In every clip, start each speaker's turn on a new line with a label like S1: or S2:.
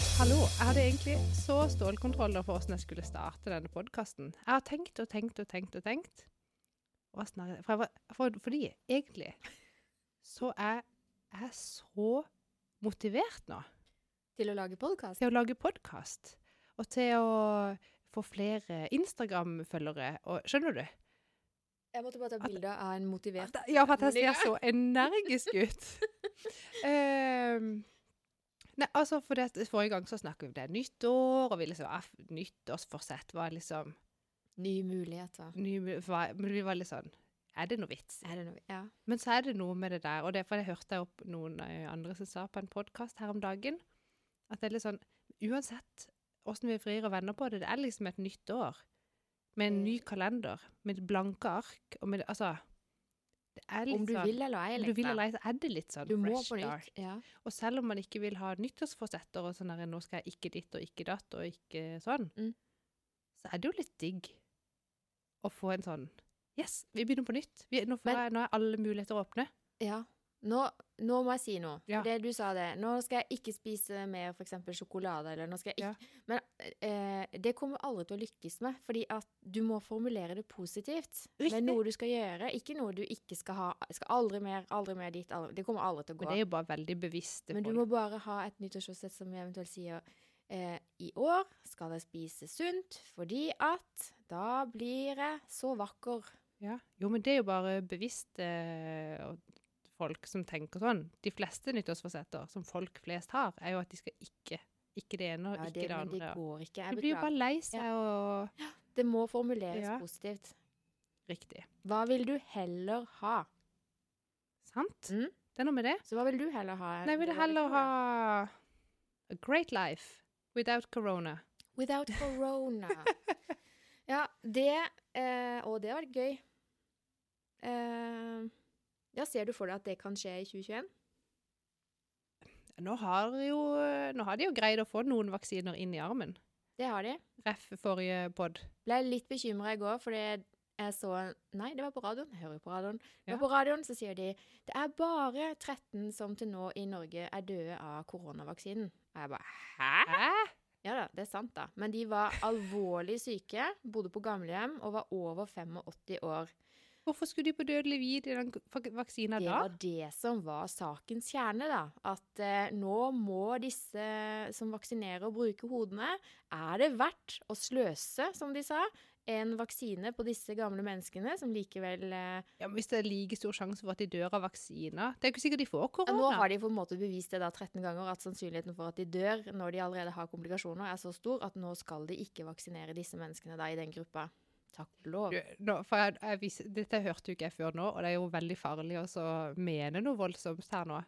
S1: Jeg hadde egentlig så stålkontroller for hvordan jeg skulle starte denne podkasten. Jeg har tenkt og tenkt og tenkt og tenkt. Og hvordan har jeg- For jeg var, for, fordi egentlig så er jeg så motivert nå
S2: Til å lage podkast?
S1: til å lage podkast. Og til å få flere Instagram-følgere. og- Skjønner du?
S2: Jeg måtte bare ta
S1: At-
S2: bilde av en motivert
S1: At- Ja, for at jeg
S2: Ja.
S1: ser så energisk ut. Ehm, nei, altså, for det, at Forrige gang så snakket vi om det nyttår, og vi liksom, ja, f- nyttårsforsett var liksom
S2: Nye muligheter.
S1: ny, var, Men vi var litt sånn Er det noe vits?
S2: Er det noe Ja.
S1: Men så er det noe med det der, og det er for det hørte jeg opp noen eh, andre som sa på en podkast her om dagen, at det er litt sånn Uansett åssen vi vrir og vender på det, det er liksom et nytt år. Med en
S2: Mm.
S1: ny kalender, med blanke ark, og med Altså Det er litt
S2: Om du
S1: sånn
S2: vil eller ei,
S1: om du vil eller ei, så er det litt sånn
S2: Du må
S1: fresh
S2: på nytt.
S1: start.
S2: Ja.
S1: Og selv om man ikke vil ha nyttårsforsetter og sånn der, nå skal jeg ikke ditt og ikke datt og ikke sånn,
S2: Mm.
S1: så er det jo litt digg å få en sånn Yes, vi begynner på nytt. Vi, nå, får
S2: Men-
S1: jeg, nå er alle muligheter åpne.
S2: ja. Nå, nå må jeg si noe.
S1: Ja.
S2: Det du sa det. Nå skal jeg ikke spise mer f.eks. sjokolade. Eller nå skal jeg
S1: Ja.
S2: ikke Men eh, det kommer aldri til å lykkes med. Fordi at du må formulere det positivt.
S1: Riktig.
S2: Med noe du skal gjøre. Ikke noe du ikke skal ha. Skal aldri mer, aldri mer dit. Aldri. Det kommer aldri til å gå.
S1: Men det er jo bare veldig bevisste
S2: Men du
S1: folk.
S2: må bare ha et nyttårsforsett som eventuelt sier eh, i år skal jeg spise sunt, fordi at da blir jeg så vakker.
S1: Ja. Jo, men det er jo bare bevisste eh, og folk som tenker sånn. De fleste nyttårsforsetter som folk flest har, er jo at de skal ikke ikke det ene og
S2: Ja,
S1: ikke
S2: det,
S1: det,
S2: men det
S1: andre.
S2: går ikke.
S1: Du
S2: Jeg
S1: blir jo
S2: beklager.
S1: bare lei seg og
S2: Det må formuleres
S1: Ja.
S2: positivt.
S1: Riktig.
S2: Hva vil du heller ha?
S1: Sant?
S2: Mm.
S1: Det er noe med det.
S2: Så hva vil du heller ha?
S1: Nei, jeg ville
S2: Det var
S1: heller
S2: ikke
S1: ha
S2: noe.
S1: A Great Life without corona.
S2: Without corona. ja, det eh, Å, det har vært gøy. Eh, ja, ser du for deg at det kan skje i 2021?
S1: Nå har, jo, eh, nå har de jo greid å få noen vaksiner inn i armen.
S2: Det har de.
S1: Ref forrige pod.
S2: Ble litt bekymra i går, fordi jeg så Nei, det var på radioen. Jeg hører jo på radioen. Det var
S1: Ja.
S2: på radioen så sier de det er bare 13 som til nå i Norge er døde av koronavaksinen. Og jeg bare Hæ?
S1: Hæ?
S2: Ja da, det er sant, da. Men de var alvorlig syke, bodde på gamlehjem og var over 85 år.
S1: Hvorfor skulle de på dødelig vid i den vak- vaksina
S2: Det
S1: da?
S2: var det som var sakens kjerne, da. At eh, nå må disse som vaksinerer, bruke hodene. Er det verdt å sløse, som de sa, en vaksine på disse gamle menneskene, som likevel eh,
S1: Ja, men hvis det er like stor sjanse for at de dør av vaksina Det er jo ikke sikkert de får
S2: ja, Nå
S1: korona.
S2: har de på en måte bevist det da 13 ganger, at sannsynligheten for at de dør når de allerede har komplikasjoner, er så stor at nå skal de ikke vaksinere disse menneskene da i den gruppa. Takk og lov.
S1: Du, nå, for jeg, jeg, vis- dette hørte jo ikke jeg før nå, og det er jo veldig farlig også å mene noe voldsomt her nå.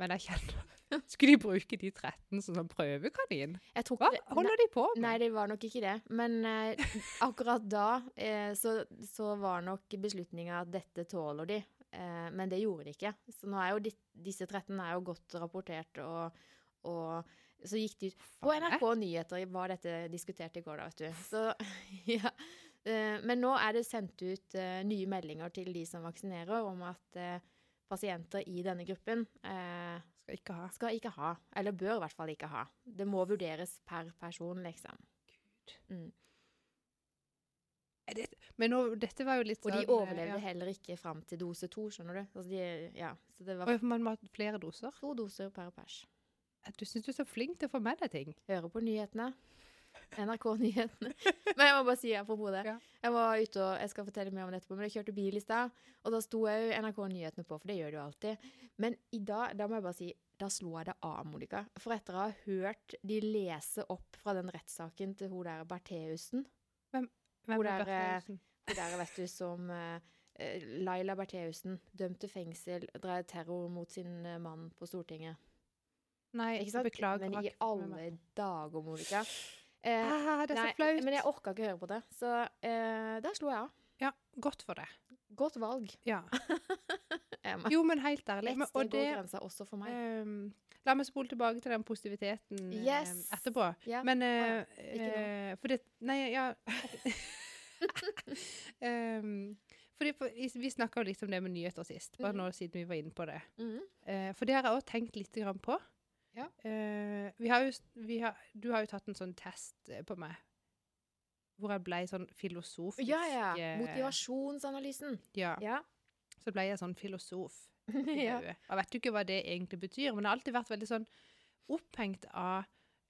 S1: Men jeg kjenner Skulle de bruke de 13 som sånn prøvekanin?
S2: Jeg tror
S1: Hva
S2: ikke det-
S1: holder de på med?
S2: Nei, det var nok ikke det. Men eh, akkurat da eh, så, så var nok beslutninga at dette tåler de. Eh, men det gjorde de ikke. Så nå er jo de, disse 13 er jo godt rapportert, og, og så gikk de ut På
S1: Faen,
S2: NRK Nyheter var dette diskutert i går, da, vet du. Så, ja. Eh, men nå er det sendt ut eh, nye meldinger til de som vaksinerer, om at eh, pasienter i denne gruppen eh,
S1: Skal ikke ha.
S2: skal ikke ha, eller bør i hvert fall ikke ha. Det må vurderes per person, liksom. Mm.
S1: Er det- Men nå, dette var jo litt
S2: Og de
S1: sånn, eh,
S2: overlevde
S1: ja.
S2: heller ikke fram til dose to, skjønner du. Altså de, ja, så det var
S1: Oi, for man må ha flere doser.
S2: to doser per pers.
S1: Du syns du er så flink til å få med deg ting.
S2: Hører på nyhetene. NRK-nyhetene. Men jeg må bare si apropos det.
S1: Ja.
S2: Jeg var ute og jeg skal fortelle mer om det etterpå, men jeg kjørte bil i stad, og da sto jeg jo NRK-nyhetene på, for det gjør du alltid. Men i dag, da må jeg bare si, da slo jeg det av, Monica. For etter å ha hørt de lese opp fra den rettssaken til hun der Bertheussen
S1: Hvem
S2: Hvor
S1: er
S2: er,
S1: Bjarte
S2: eh,
S1: Olsen?
S2: Det der vet du som eh, eh, Laila Bertheussen dømte fengsel, drev terror mot sin eh, mann på Stortinget.
S1: Nei,
S2: Ikke sant?
S1: beklager.
S2: men
S1: har
S2: i
S1: ikke fått med meg.
S2: alle dager, Monica. Eh,
S1: Ah, det er
S2: nei,
S1: så flaut.
S2: Men jeg orka ikke høre på det, så eh, der slo jeg av.
S1: Ja, godt for det.
S2: Godt valg,
S1: Ja.
S2: Emma.
S1: Jo, men helt ærlig.
S2: Et
S1: Men, og
S2: sted går
S1: det
S2: grensa også for meg.
S1: ehm, La meg spole tilbake til den positiviteten eh,
S2: Yes.
S1: etterpå.
S2: Ja.
S1: Men
S2: ja.
S1: eh,
S2: Ikke nå.
S1: eh, For det Nei, ja Ehm, Fordi for, vi- Vi snakka jo litt om det med nyheter sist, bare
S2: Mhm.
S1: nå siden vi var inne på det.
S2: Mhm.
S1: Eh, for det har jeg òg tenkt litt grann på. Ja. Eh, vi har jo, s- vi har, du har jo tatt en sånn test eh, på meg, hvor jeg ble sånn filosofisk.
S2: Ja, ja.
S1: eh,
S2: Motivasjonsanalysen.
S1: Ja,
S2: Ja.
S1: så ble jeg sånn filosof i
S2: ja.
S1: hodet. Og Jeg vet jo ikke hva det egentlig betyr, men jeg har alltid vært veldig sånn opphengt av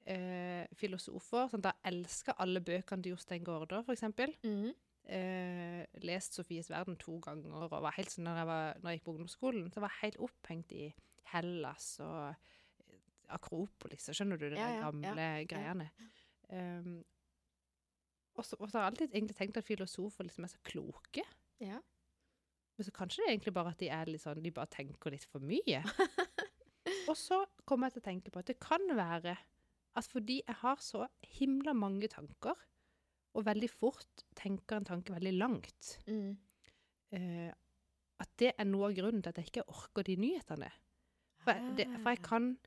S1: eh, filosofer. Sånn, da elsker alle bøkene til Jostein Gaarder, for eksempel.
S2: Mm.
S1: eh, lest 'Sofies verden' to ganger. og var helt sånn når jeg, var, når jeg gikk på ungdomsskolen, så var jeg helt opphengt i Hellas og eh, Akropolis. og Skjønner du de
S2: Ja,
S1: der
S2: ja, ja,
S1: gamle greiene? Um, og så og så har jeg alltid egentlig tenkt at filosofer liksom er så kloke.
S2: Ja.
S1: Men så kanskje det er egentlig bare at de er litt sånn, de bare tenker litt for mye. og så kommer jeg til å tenke på at det kan være at fordi jeg har så himla mange tanker, og veldig fort tenker en tanke veldig langt,
S2: Mm.
S1: eh, at det er noe av grunnen til at jeg ikke orker de nyhetene. For jeg, det, for
S2: Ah.
S1: jeg kan...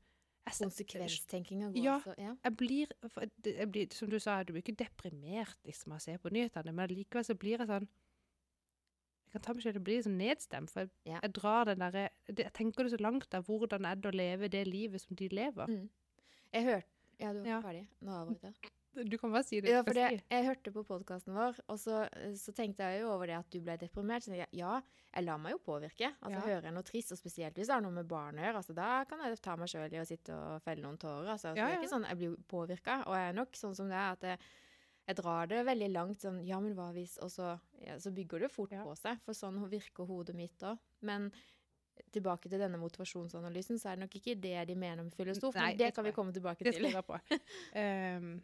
S1: Jeg, s-
S2: Konsekvenstenkinga går
S1: Ja.
S2: altså. Ja.
S1: jeg blir, for jeg- det- jeg blir, som du sa, du blir ikke deprimert liksom, av å se på nyhetene, men likevel så blir jeg sånn Jeg kan ta meg selv og bli sånn nedstemt, for jeg,
S2: Ja.
S1: jeg drar den derre det- Jeg tenker det så langt av hvordan er det å leve det livet som de lever.
S2: Mm. Jeg hørte Ja, du var
S1: Ja.
S2: ferdig? Nå avbrøt jeg.
S1: Du kan bare si det.
S2: Mm. Ja,
S1: du
S2: for
S1: skal
S2: det,
S1: si.
S2: jeg hørte på podkasten vår, og så, eh, så tenkte jeg jo over det at du ble deprimert. Så tenkte jeg, ja, jeg lar meg jo påvirke. Altså,
S1: Ja.
S2: Hører jeg noe trist, og spesielt hvis det har noe med barn å gjøre, altså, da kan jeg ta meg sjøl i å sitte og felle noen tårer. Altså, så
S1: Ja,
S2: det
S1: ja.
S2: er ikke sånn jeg blir påvirka, og jeg er nok sånn som det er at jeg, jeg drar det veldig langt sånn Ja, men hva hvis Og så, ja, så bygger det fort
S1: Ja.
S2: på seg, for sånn virker hodet mitt òg. Men tilbake til denne motivasjonsanalysen, så er det nok ikke det de mener med filosof.
S1: Nei,
S2: men
S1: det
S2: det kan
S1: tror
S2: vi
S1: jeg.
S2: komme tilbake
S1: Det stoler
S2: til.
S1: jeg på. Ehm,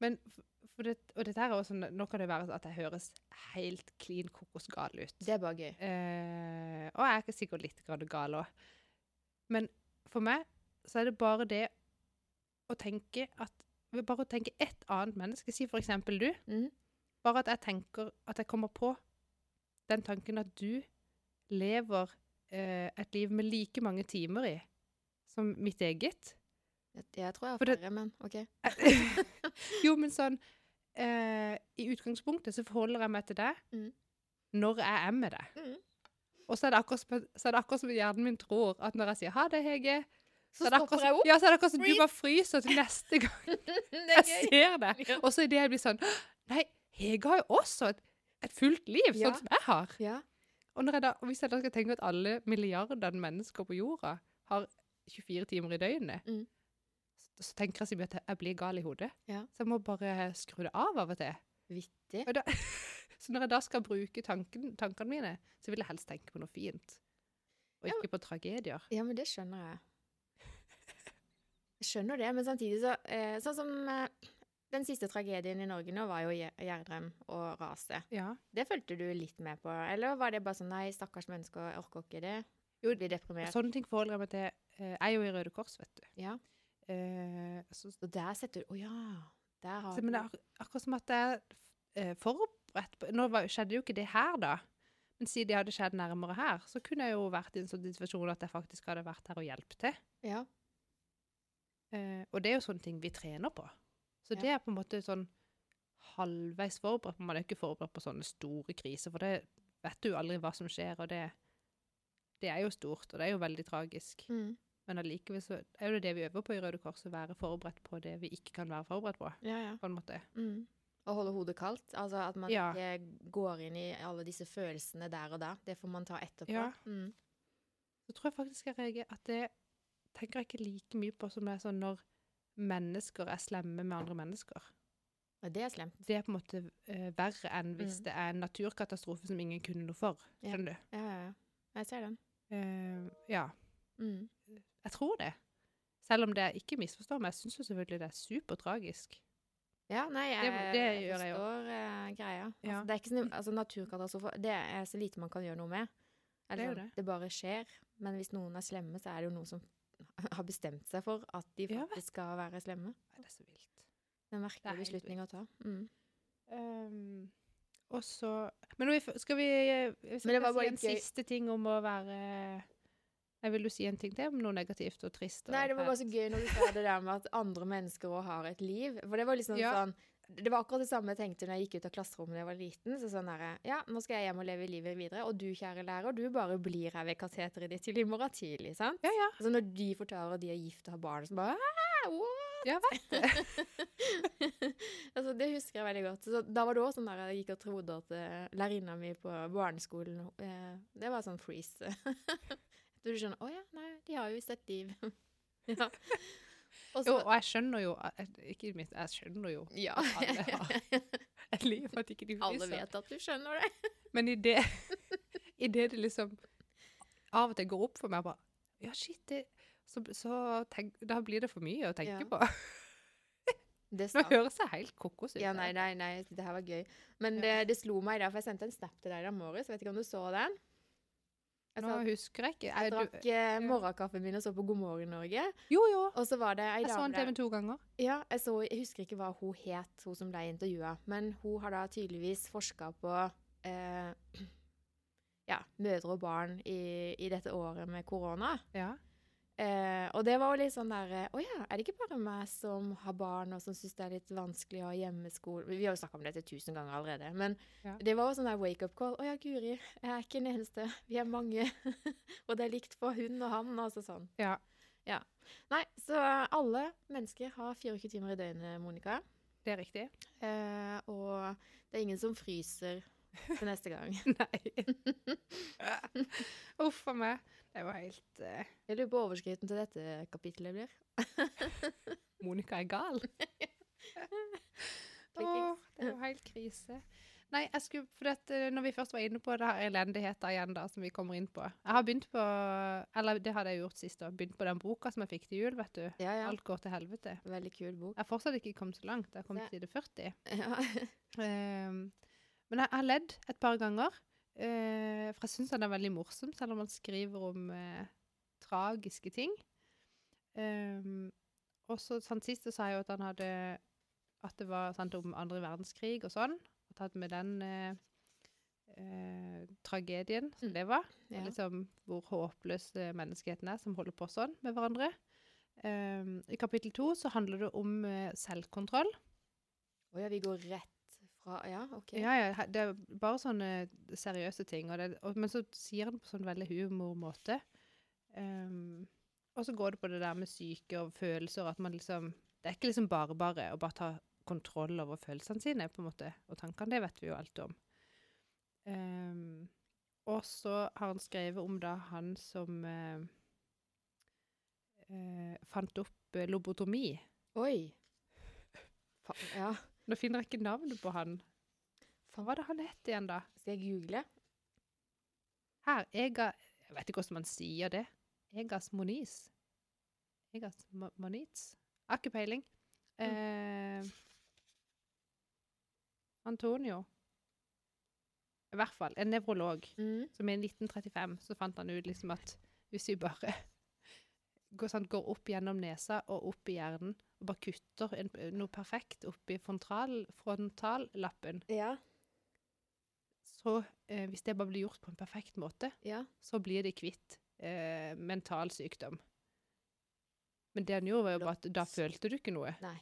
S1: men f- for det, Og dette her er også, nå kan det være at jeg høres helt klin kokos gal ut.
S2: Det er bare gøy.
S1: Eh, og jeg er ikke sikkert litt grad gal òg. Men for meg så er det bare det å tenke at ved Bare å tenke ett annet menneske, si for eksempel du.
S2: Mhm.
S1: Bare at jeg tenker at jeg kommer på den tanken at du lever eh, et liv med like mange timer i som mitt eget.
S2: Jeg, jeg tror
S1: For
S2: jeg har
S1: det-
S2: færre, men OK.
S1: jo, men sånn eh, I utgangspunktet så forholder jeg meg til deg
S2: Mm.
S1: når jeg er med deg.
S2: Mm.
S1: Og så er, det akkurat, som- så er det akkurat som hjernen min tror at når jeg sier ha det, Hege
S2: Så
S1: er det
S2: stopper
S1: akkurat,
S2: jeg
S1: som-
S2: opp.
S1: Ja, så er det akkurat som du
S2: Freeze.
S1: bare fryser til neste gang
S2: det
S1: jeg ser
S2: Ja.
S1: det. Og så idet jeg blir sånn Nei, Hege har jo også et, et fullt liv,
S2: Ja.
S1: sånn som jeg har.
S2: Ja.
S1: Og, når jeg da, og hvis jeg da skal tenke at alle milliardene mennesker på jorda har 24 timer i døgnet,
S2: Mm.
S1: så, så tenker jeg så mye at jeg blir gal i hodet.
S2: Ja.
S1: Så jeg må bare skru det av av og til.
S2: Vittig.
S1: Og da, så når jeg da skal bruke tanken, tankene mine, så vil jeg helst tenke på noe fint. Og
S2: Ja,
S1: ikke på tragedier.
S2: Ja, men det skjønner jeg. Jeg skjønner det, men samtidig så eh, Sånn som eh, den siste tragedien i Norge nå var jo Gje- Gjerdrem og raset.
S1: Ja.
S2: Det fulgte du litt med på, eller var det bare sånn nei, stakkars mennesker, jeg orker ikke det?
S1: Jo, altså-
S2: Blir
S1: Og
S2: deprimert.
S1: Sånne ting forholder jeg meg til. Eh, Jeg er jo i Røde Kors, vet du.
S2: Ja.
S1: Eh, så,
S2: Så der setter du Å ja. Der har
S1: så, men det er
S2: du
S1: ak akkurat som at jeg er eh, forberedt på Nå var, skjedde jo ikke det her, da. Men siden det hadde skjedd nærmere her, så kunne jeg jo vært i en sånn situasjon at jeg faktisk hadde vært her og hjulpet til.
S2: Ja.
S1: Eh, og det er jo sånne ting vi trener på. Så
S2: Ja.
S1: det er på en måte sånn halvveis forberedt. men Man er jo ikke forberedt på sånne store kriser, for det vet du jo aldri hva som skjer, og det, det er jo stort, og det er jo veldig tragisk.
S2: Mm.
S1: Men allikevel så er det det vi øver på i Røde Kors, å være forberedt på det vi ikke kan være forberedt på.
S2: Ja, ja.
S1: på en måte.
S2: Mm. Å holde hodet kaldt. Altså at man
S1: Ja.
S2: ikke går inn i alle disse følelsene der og da. Det får man ta etterpå.
S1: Ja.
S2: Mm.
S1: Så tror jeg faktisk jeg reagerer at det tenker jeg ikke like mye på som det er sånn når mennesker er slemme med andre mennesker.
S2: Og det er slemt.
S1: Det er på en måte eh, verre enn hvis
S2: Mm.
S1: det er en naturkatastrofe som ingen kunne noe for.
S2: Ja.
S1: Skjønner du?
S2: Ja, ja, ja. Jeg ser den.
S1: Eh, ja.
S2: Mm.
S1: Jeg tror det. Selv om det ikke misforstår meg. Jeg syns jo selvfølgelig det er supertragisk.
S2: Ja, nei, jeg,
S1: Det- det gjør jeg jo.
S2: forstår eh, greia. Altså,
S1: Ja.
S2: Det er ikke sånn, altså, naturkatastrofer, det er så lite man kan gjøre noe med. Eller
S1: Det er jo
S2: sånn,
S1: det.
S2: det bare skjer. Men hvis noen er slemme, så er det jo noen som har bestemt seg for at de
S1: Ja, vet
S2: faktisk skal være slemme.
S1: Nei, det er så vilt.
S2: Det er
S1: Det er
S2: en merkelig
S1: helt
S2: beslutning å ta. Mm.
S1: Um, og så Men vi, f- skal vi eh, hvis
S2: Men
S1: jeg
S2: det var
S1: kan
S2: bare
S1: si en
S2: litt gøy.
S1: siste ting om å være Jeg vil jo si en ting til om noe negativt og trist. Og
S2: Nei, det var bare
S1: fælt.
S2: så gøy når du sa det der med at andre mennesker òg har et liv. For det var liksom
S1: Ja.
S2: sånn Det var akkurat det samme jeg tenkte når jeg gikk ut av klasserommet da jeg var liten. så sånn der, ja, Nå skal jeg hjem og leve livet videre, og du, kjære lærer, du bare blir her ved kateteret ditt til i morgen tidlig. sant?
S1: Ja, ja.
S2: Så når de forteller at de er gift og har barn, så bare «Hæ? What?»
S1: Ja, vet
S2: altså, Det husker jeg veldig godt. Så da var det også sånn der jeg gikk og trodde at eh, lærerinna mi på barneskolen eh, Det var sånn freeze. du skjønner Å ja, nei, de har jo visst et liv. ja. Og
S1: Jo,
S2: så
S1: og jeg skjønner jo at- eh, Ikke minst, jeg skjønner jo
S2: Ja.
S1: at alle har et liv, at ikke de
S2: Alle
S1: fryser.
S2: vet at du skjønner det.
S1: Men i det, i det det liksom av og til går opp for meg bare Ja, shit, det så, så tenk, Da blir det for mye å tenke
S2: Ja.
S1: på.
S2: Det
S1: Nå
S2: sa
S1: høres jeg helt kokos ut.
S2: Ja,
S1: her.
S2: nei, nei, nei, det her var gøy. Men
S1: Ja.
S2: det, det slo meg da, for jeg sendte en snap til deg i dag morges. Vet ikke om du så den? Jeg,
S1: Nå
S2: satt,
S1: husker jeg ikke.
S2: jeg
S1: Er
S2: drakk
S1: du,
S2: eh, morgenkaffen min og så på God morgen Norge.
S1: jo, jo.
S2: Og så var det ei
S1: Jeg så han
S2: dame
S1: TV to ganger.
S2: Ja, jeg, så, jeg husker ikke hva hun het, hun som ble intervjua, men hun har da tydeligvis forska på eh, ja, mødre og barn i, i dette året med korona.
S1: Ja.
S2: Eh, og det var jo litt sånn der eh, Å ja, er det ikke bare meg som har barn og som syns det er litt vanskelig å ha hjemmeskole Vi har jo snakka om dette tusen ganger allerede, men
S1: Ja.
S2: det var jo sånn der wake up call. Å ja, Guri, jeg er ikke den eneste. Vi er mange. og det er likt for hun og han, altså sånn.
S1: ja.
S2: Nei, så alle mennesker har 24 timer i døgnet, Monica.
S1: Det er riktig.
S2: Eh, og det er ingen som fryser til neste gang.
S1: Nei. Uff a meg. Det var helt eh,
S2: Jeg lurer på hva overskriften til dette kapitlet blir.
S1: Monica er gal.
S2: Klikkings.
S1: Åh, det var helt krise. Nei, jeg skulle, for dette, når vi først var inne på det her elendigheten igjen da, som vi kommer inn på. Jeg har begynt på, eller det hadde jeg gjort sist da, begynt på den boka som jeg fikk til jul, vet du.
S2: Ja, ja.
S1: Alt går til helvete.
S2: Veldig kul bok.
S1: Jeg har fortsatt ikke kommet så langt, jeg har kommet
S2: Nei.
S1: til side 40.
S2: Ja.
S1: Ehm, men jeg jeg har ledd et par ganger, eh, for jeg syns den er veldig morsom, selv om han skriver om eh, tragiske ting. Ehm, og så sånn, sist så sa jeg jo at han hadde At det var sant, om andre verdenskrig og sånn. Og tatt med den eh, eh, tragedien som
S2: Mm.
S1: det var.
S2: Ja.
S1: Og liksom hvor håpløs eh, menneskeheten er som holder på sånn med hverandre. Ehm, I kapittel to så handler det om eh, selvkontroll.
S2: Å ja, vi går rett fra Ja, OK.
S1: Ja, ja, he- det er bare sånne seriøse ting. Og det, og, men så sier han det på sånn veldig humormåte. Ehm, og så går det på det der med syke og følelser, og at man liksom Det er ikke liksom bare bare å bare ta kontroll over følelsene sine, på en måte. Og tankene, det vet vi jo alt om. Ehm, og så har han skrevet om da han som eh, eh, fant opp eh, lobotomi.
S2: Oi. Fa ja.
S1: Nå finner jeg ikke navnet på han. Hva var det han het igjen, da?
S2: Skal jeg google?
S1: Her, Ega Jeg vet ikke hvordan man sier det. Egas Moniz. Egas Mo- Moniz. Har ikke peiling. Eh, Antonio. I hvert fall en nevrolog.
S2: Mm.
S1: Som i 1935 så fant han ut liksom at hvis vi bare går, sånn, går opp gjennom nesa og opp i hjernen og bare kutter en, noe perfekt oppi frontal, frontallappen,
S2: Ja.
S1: så eh, hvis det bare blir gjort på en perfekt måte,
S2: Ja.
S1: så blir de kvitt eh, mental sykdom. Men det han gjorde, var jo bare at da følte du ikke noe.
S2: Nei.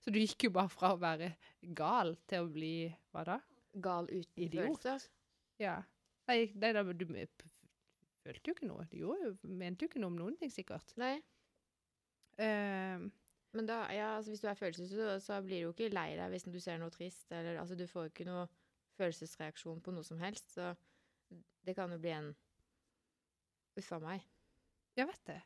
S1: Så du gikk jo bare fra å være gal til å bli Hva da?
S2: Gal uten
S1: Idiot.
S2: følelser.
S1: Ja. Nei, nei da, du m- p- følte jo ikke noe. Du gjorde jo, mente jo ikke noe om noen ting, sikkert.
S2: Nei.
S1: Eh,
S2: Men da, ja, altså, hvis du er følelsesløs, så, så blir du jo ikke lei deg hvis du ser noe trist. Eller, altså, du får jo ikke noe følelsesreaksjon på noe som helst. Så det kan jo bli en Uffa meg.
S1: jeg vet det.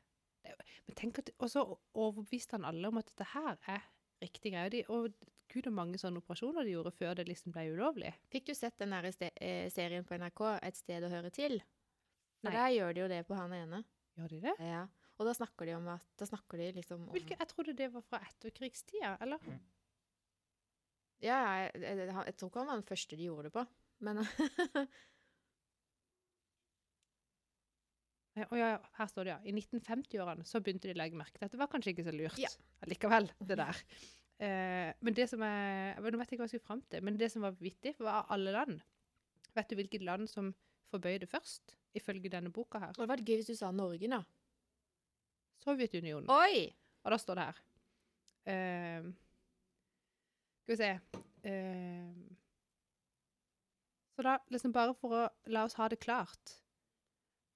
S1: Det er jo- Men tenk at, Og så overbeviste han alle om at dette her er riktig greie. Og de- Og gud, hvor mange sånne operasjoner de gjorde før det liksom ble ulovlig.
S2: Fikk du sett den der ste eh, serien på NRK, 'Et sted å høre til'? For
S1: Nei.
S2: der gjør de jo det på han ene.
S1: Gjør de det?
S2: Ja. Og da snakker de om at Da snakker de liksom om
S1: Hvilke, jeg trodde det var fra etterkrigstida, eller?
S2: Ja, jeg, jeg, jeg, han- jeg tror ikke han var den første de gjorde det på. Men
S1: Nei, Å Eh, ja, her står det, ja. I 1950-årene så begynte de å legge merke til at det var kanskje ikke så lurt
S2: Ja.
S1: allikevel, det der. Eh, men det som er, jeg vet- nå vet jeg ikke hva jeg skulle frem til, men det som var vittig, var alle land. Vet du hvilket land som forbøyde først, ifølge denne boka her?
S2: det hadde vært gøy hvis du sa Norge, da.
S1: Sovjetunionen.
S2: Oi!
S1: Og da står det her. Eh, Ehm, Skal vi se eh, Så da, liksom bare for å la oss ha det klart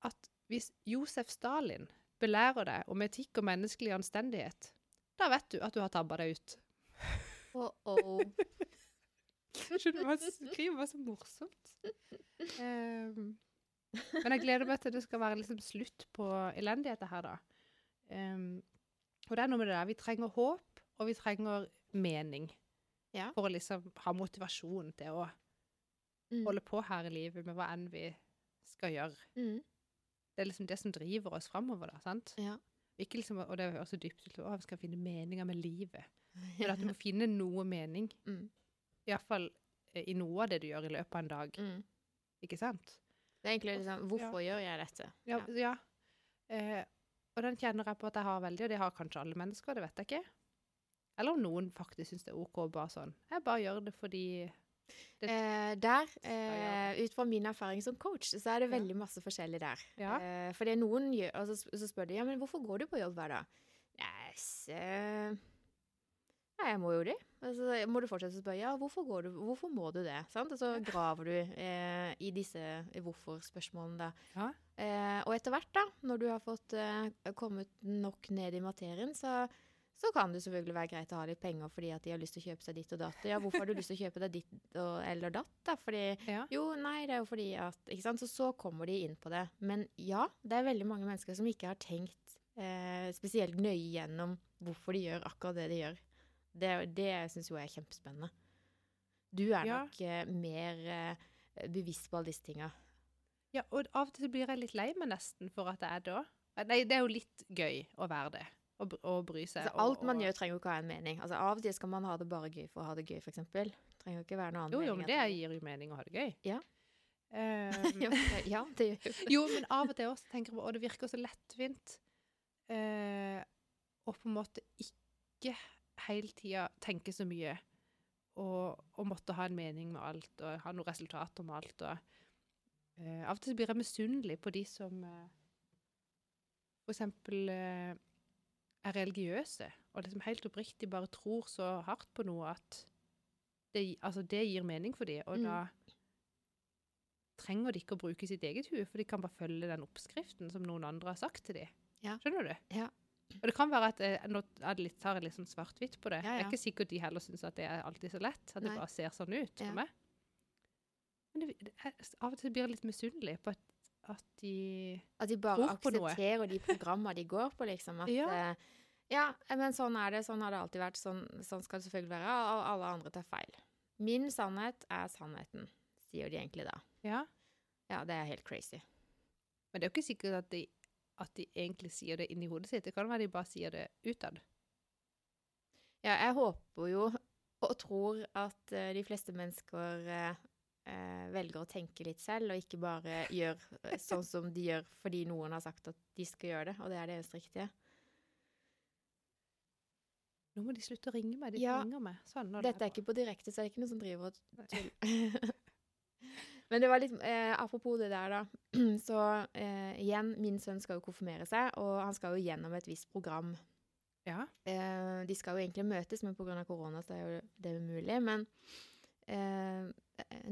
S1: At hvis Josef Stalin belærer deg om etikk og menneskelig anstendighet, da vet du at du har tabba deg ut.
S2: Oh-oh.
S1: Skjønner du hva jeg skriver? var så morsomt. Ehm, men jeg gleder meg til det skal være liksom slutt på elendigheten her, da. Ehm, og det er noe med det der. Vi trenger håp, og vi trenger mening.
S2: Ja.
S1: For å liksom ha motivasjon til å holde på her i livet med hva enn vi skal gjøre.
S2: Mm.
S1: Det er liksom det som driver oss framover, da. sant?
S2: Ja.
S1: Ikke liksom, og det høres så dypt ut. Å, vi skal finne meninger med livet. Men at du må finne noe mening.
S2: Mm.
S1: Iallfall eh, i noe av det du gjør i løpet av en dag.
S2: Mm.
S1: Ikke sant?
S2: Det er egentlig liksom Hvorfor gjør jeg dette?
S1: Ja. ja. Eh, og den kjenner jeg på at jeg har veldig, og det har kanskje alle mennesker, det vet jeg ikke. Eller om noen faktisk syns det er OK å bare sånn. Jeg bare gjør det fordi Det-
S2: Eh, der,
S1: Ja,
S2: eh, ut fra min erfaring som coach, så er det
S1: Ja.
S2: veldig masse forskjellig der.
S1: Ja.
S2: Eh, fordi noen gjør, og så, sp- så spør de ja, men hvorfor går du på jobb hver dag. Nei, s- eh, nei, jeg må jo det. Og så må du fortsette å spørre ja, hvorfor, går du, hvorfor må du det? Sant? Og så graver du eh, i disse hvorfor-spørsmålene. da.
S1: Ja.
S2: Eh, og etter hvert, da, når du har fått eh, kommet nok ned i materien, så, så kan det selvfølgelig være greit å ha litt penger fordi at de har lyst til å kjøpe seg ditt og datt. Ja, hvorfor har du lyst til å kjøpe deg ditt og, eller datt? da? Fordi
S1: Ja.
S2: Jo, nei, det er jo fordi at Ikke sant. Så så kommer de inn på det. Men ja, det er veldig mange mennesker som ikke har tenkt eh, spesielt nøye gjennom hvorfor de gjør akkurat det de gjør. Det, det syns jo jeg er kjempespennende. Du er
S1: Ja.
S2: nok eh, mer eh, bevisst på alle disse tinga.
S1: ja, og av og til blir jeg litt lei meg nesten for at jeg er da. Nei, det er jo litt gøy å være det. Å br- å bry seg.
S2: Altså, alt
S1: og,
S2: man
S1: og,
S2: gjør, trenger jo ikke ha en mening. Altså, av og til skal man ha det bare gøy for å ha det gøy, f.eks. Trenger jo ikke være noe annet.
S1: Jo, jo, men det gir jo mening å ha det gøy.
S2: Ja.
S1: Ehm,
S2: ja, det gjør jo
S1: Jo, men av og til også tenker jeg på, og det virker så lettvint eh, å på en måte ikke hele tida tenke så mye og, og måtte ha en mening med alt og ha noen resultater med alt. Og, eh, av og til så blir jeg misunnelig på de som eh, f.eks. Eh, er religiøse og liksom helt oppriktig bare tror så hardt på noe at det, gi- altså det gir mening for dem, og
S2: Mm.
S1: da trenger de ikke å bruke sitt eget hue, for de kan bare følge den oppskriften som noen andre har sagt til dem.
S2: Ja.
S1: Skjønner du?
S2: Ja.
S1: Og det kan være at eh, Nå er det litt- tar jeg litt sånn svart-hvitt på det.
S2: Ja,
S1: Det
S2: ja.
S1: er ikke sikkert de heller syns at det er alltid så lett. At
S2: Nei.
S1: det bare ser sånn ut for
S2: Ja.
S1: meg. Men det, det, er- av og til blir jeg litt misunnelig på at, at de
S2: At de bare
S1: Tror på noe.
S2: aksepterer de programmer de går på, liksom. At,
S1: Ja.
S2: eh, ja, men sånn er det. Sånn har det alltid vært. Sånn, sånn skal det selvfølgelig være. Og alle andre tar feil. Min sannhet er sannheten, sier de egentlig da.
S1: Ja.
S2: Ja, det er helt crazy.
S1: Men det er jo ikke sikkert at de, at de egentlig sier det inni hodet sitt. Det kan være de bare sier det utad.
S2: Ja, jeg håper jo og tror at eh, de fleste mennesker eh, eh, velger å tenke litt selv, og ikke bare gjør eh, sånn som de gjør fordi noen har sagt at de skal gjøre det, og det er det eneste riktige.
S1: Nå må de slutte å ringe meg. De
S2: Ja.
S1: ringer meg. Sånn, når det
S2: Dette er ikke på direkte, så det er ikke noen som driver og
S1: Nei.
S2: tuller. Men det var litt eh, Apropos det der, da. Så eh, igjen, min sønn skal jo konfirmere seg, og han skal jo gjennom et visst program.
S1: Ja.
S2: Eh, de skal jo egentlig møtes, men pga. korona så er jo det umulig. Men eh,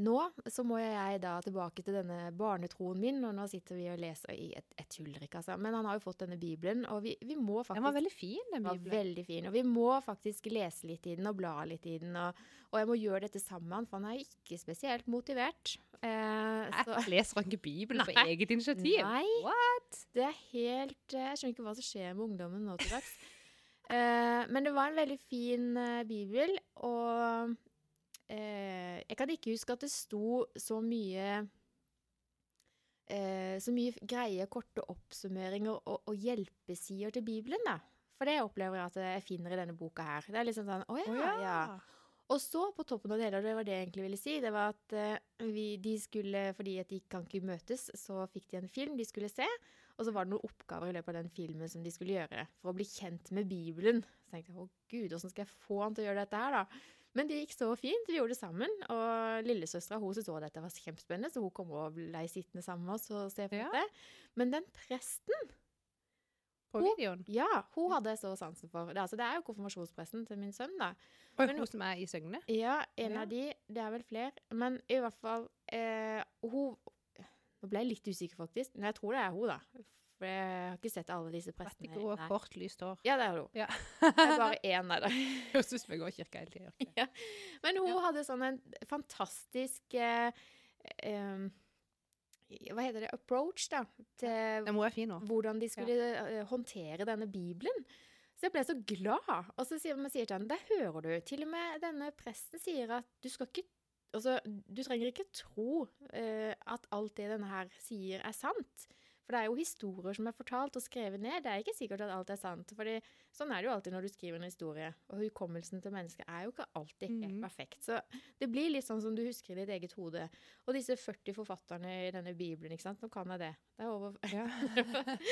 S2: nå så må jeg da tilbake til denne barnetroen min, og nå sitter vi og leser i et, et hullrikk, altså. Men han har jo fått denne bibelen, og vi, vi må
S1: Den var
S2: faktisk
S1: veldig fin, den
S2: den var
S1: bibelen.
S2: veldig fin. Og vi må faktisk lese litt i den og bla litt i den. Og, og jeg må gjøre dette sammen med han, for han er ikke spesielt motivert. Eh, så,
S1: Jeg leser ikke Bibelen på
S2: Nei.
S1: eget initiativ.
S2: Nei.
S1: What?
S2: det er helt eh, Jeg skjønner ikke hva som skjer med ungdommen nå til dags. Eh, men det var en veldig fin eh, bibel, og eh, jeg kan ikke huske at det sto så mye eh, så mye greie, korte oppsummeringer og, og hjelpesider til Bibelen, da. For det opplever jeg at jeg finner i denne boka her. Det er liksom sånn Å
S1: Å
S2: ja. ja. Og så, på toppen av det hele, og det var det jeg egentlig ville si, det var at eh, vi, de skulle, fordi at de kan ikke møtes, så fikk de en film de skulle se, og så var det noen oppgaver i løpet av den filmen som de skulle gjøre, for å bli kjent med Bibelen. Så tenkte jeg, å Gud, hvordan skal jeg få han til å gjøre dette her, da? Men det gikk så fint, vi gjorde det sammen, og lillesøstra, hun syntes også dette var kjempespennende, så hun kom og ble sittende sammen med oss og se på
S1: Ja.
S2: dette. Men den presten,
S1: på
S2: Hun-
S1: videoen.
S2: Ja, hun hadde jeg så sansen for. Det, er- altså, det er jo konfirmasjonspresten til min sønn, da.
S1: Og
S2: Men
S1: hun
S2: hun-
S1: som er i Søgne.
S2: Ja, en
S1: Ja.
S2: av de. Det er vel flere. Men i hvert fall eh, Hun Nå ble jeg litt usikker, faktisk. Men jeg tror det er hun, da. For jeg har ikke sett alle disse
S1: Vet
S2: prestene.
S1: ikke hun har
S2: Nei.
S1: kort, lyst hår.
S2: Ja, det er hun.
S1: Ja.
S2: Det er bare én av dem.
S1: Høres ut som jeg går i kirka hele tida.
S2: Men hun
S1: Ja.
S2: hadde sånn en fantastisk eh, eh, Hva heter det? Approach, da. Til
S1: Men hun er fin nå.
S2: hvordan de skulle eh, håndtere denne Bibelen. Så jeg ble så glad. Og så sier man sier til henne, det hører du. Til og med denne presten sier at du skal ikke Altså, du trenger ikke tro eh, at alt det denne her sier er sant. For det er jo historier som er fortalt og skrevet ned. Det er ikke sikkert at alt er sant. Fordi sånn er det jo alltid når du skriver en historie. Og hukommelsen til mennesker er jo ikke alltid helt
S1: Mhm.
S2: perfekt. Så det blir litt sånn som du husker i ditt eget hode. Og disse 40 forfatterne i denne bibelen, ikke sant. Nå kan jeg det. Det er over
S1: Ja.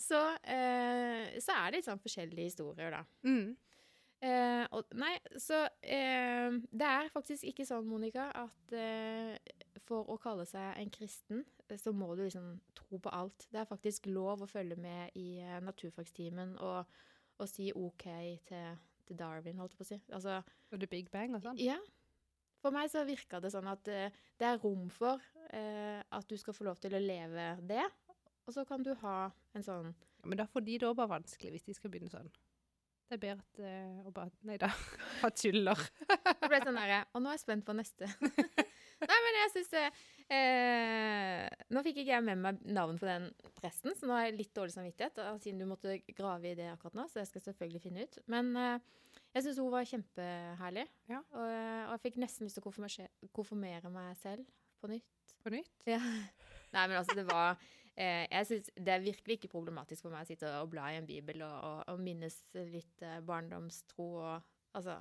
S2: så, eh, så er det litt sånn forskjellige historier, da.
S1: Mm.
S2: Eh, og, nei, så eh, det er faktisk ikke sånn, Monica, at eh, for å kalle seg en kristen, eh, så må du liksom tro på alt. Det er faktisk lov å følge med i eh, naturfagstimen og, og si OK til, til Darwin, holdt jeg på å si. Altså,
S1: Og The Big Bang og sånn.
S2: ja. For meg så virka det sånn at eh, det er rom for eh, at du skal få lov til å leve det, og så kan du ha en sånn
S1: Ja, Men da får de det òg bare vanskelig, hvis de skal begynne sånn. Det er bedre at eh, å bare Nei da. Bare tuller.
S2: Jeg ble sånn derre Og nå er jeg spent på neste. Nei, men jeg syns det eh, Nå fikk ikke jeg med meg navn på den presten, så nå har jeg litt dårlig samvittighet, og siden du måtte grave i det akkurat nå, så jeg skal selvfølgelig finne ut. Men eh, jeg syns hun var kjempeherlig,
S1: Ja.
S2: og, eh, og jeg fikk nesten lyst til å konfirmere, konfirmere meg selv på nytt.
S1: På nytt.
S2: Ja. Nei, men altså, det var eh, Jeg synes det er virkelig ikke problematisk for meg å sitte og bla i en bibel og, og, og minnes litt eh, barndomstro og Altså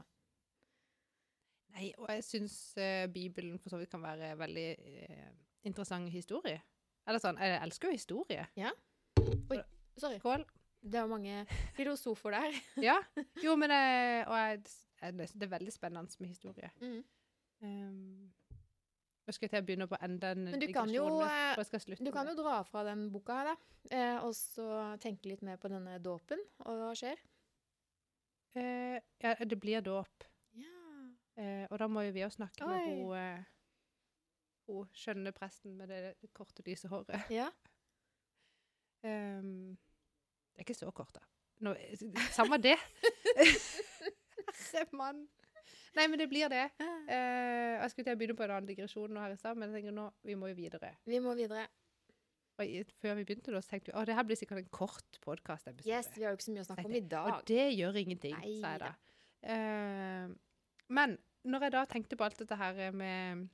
S1: Nei, og jeg syns Bibelen for så vidt kan være veldig eh, interessant historie. Eller sånn, jeg elsker jo historie.
S2: Sorry.
S1: Skål.
S2: Det er jo mange filosofer der.
S1: Ja. Jo, men jeg, og jeg, jeg, det er veldig spennende med historie.
S2: Mm.
S1: Um, nå skal jeg til å begynne på enda en
S2: Men du kan jo,
S1: digresjon,
S2: eh,
S1: for jeg skal slutte
S2: Du kan
S1: med
S2: jo dra fra den boka her, da, eh, og så tenke litt mer på denne dåpen, og hva skjer?
S1: det. Eh, ja, det blir dåp.
S2: Ja.
S1: Eh, og da må jo vi også snakke med
S2: Oi.
S1: hun, eh, hun skjønne presten med det korte, lyse håret. Um, det er ikke så kort, da. Nå, eh, samme det. Herre mann. Nei, men det blir det. Eh, jeg skulle til å begynne på en annen digresjon nå her i stad, men jeg tenker nå, vi må jo videre.
S2: Vi må videre.
S1: Og i, før vi begynte, da, så tenkte vi å, det her blir sikkert en kort podkast.
S2: Yes, vi har jo ikke så mye å snakke om i
S1: Og
S2: dag.
S1: det gjør ingenting,
S2: Nei
S1: sa jeg
S2: da.
S1: da. Eh, men når jeg da tenkte på alt dette her med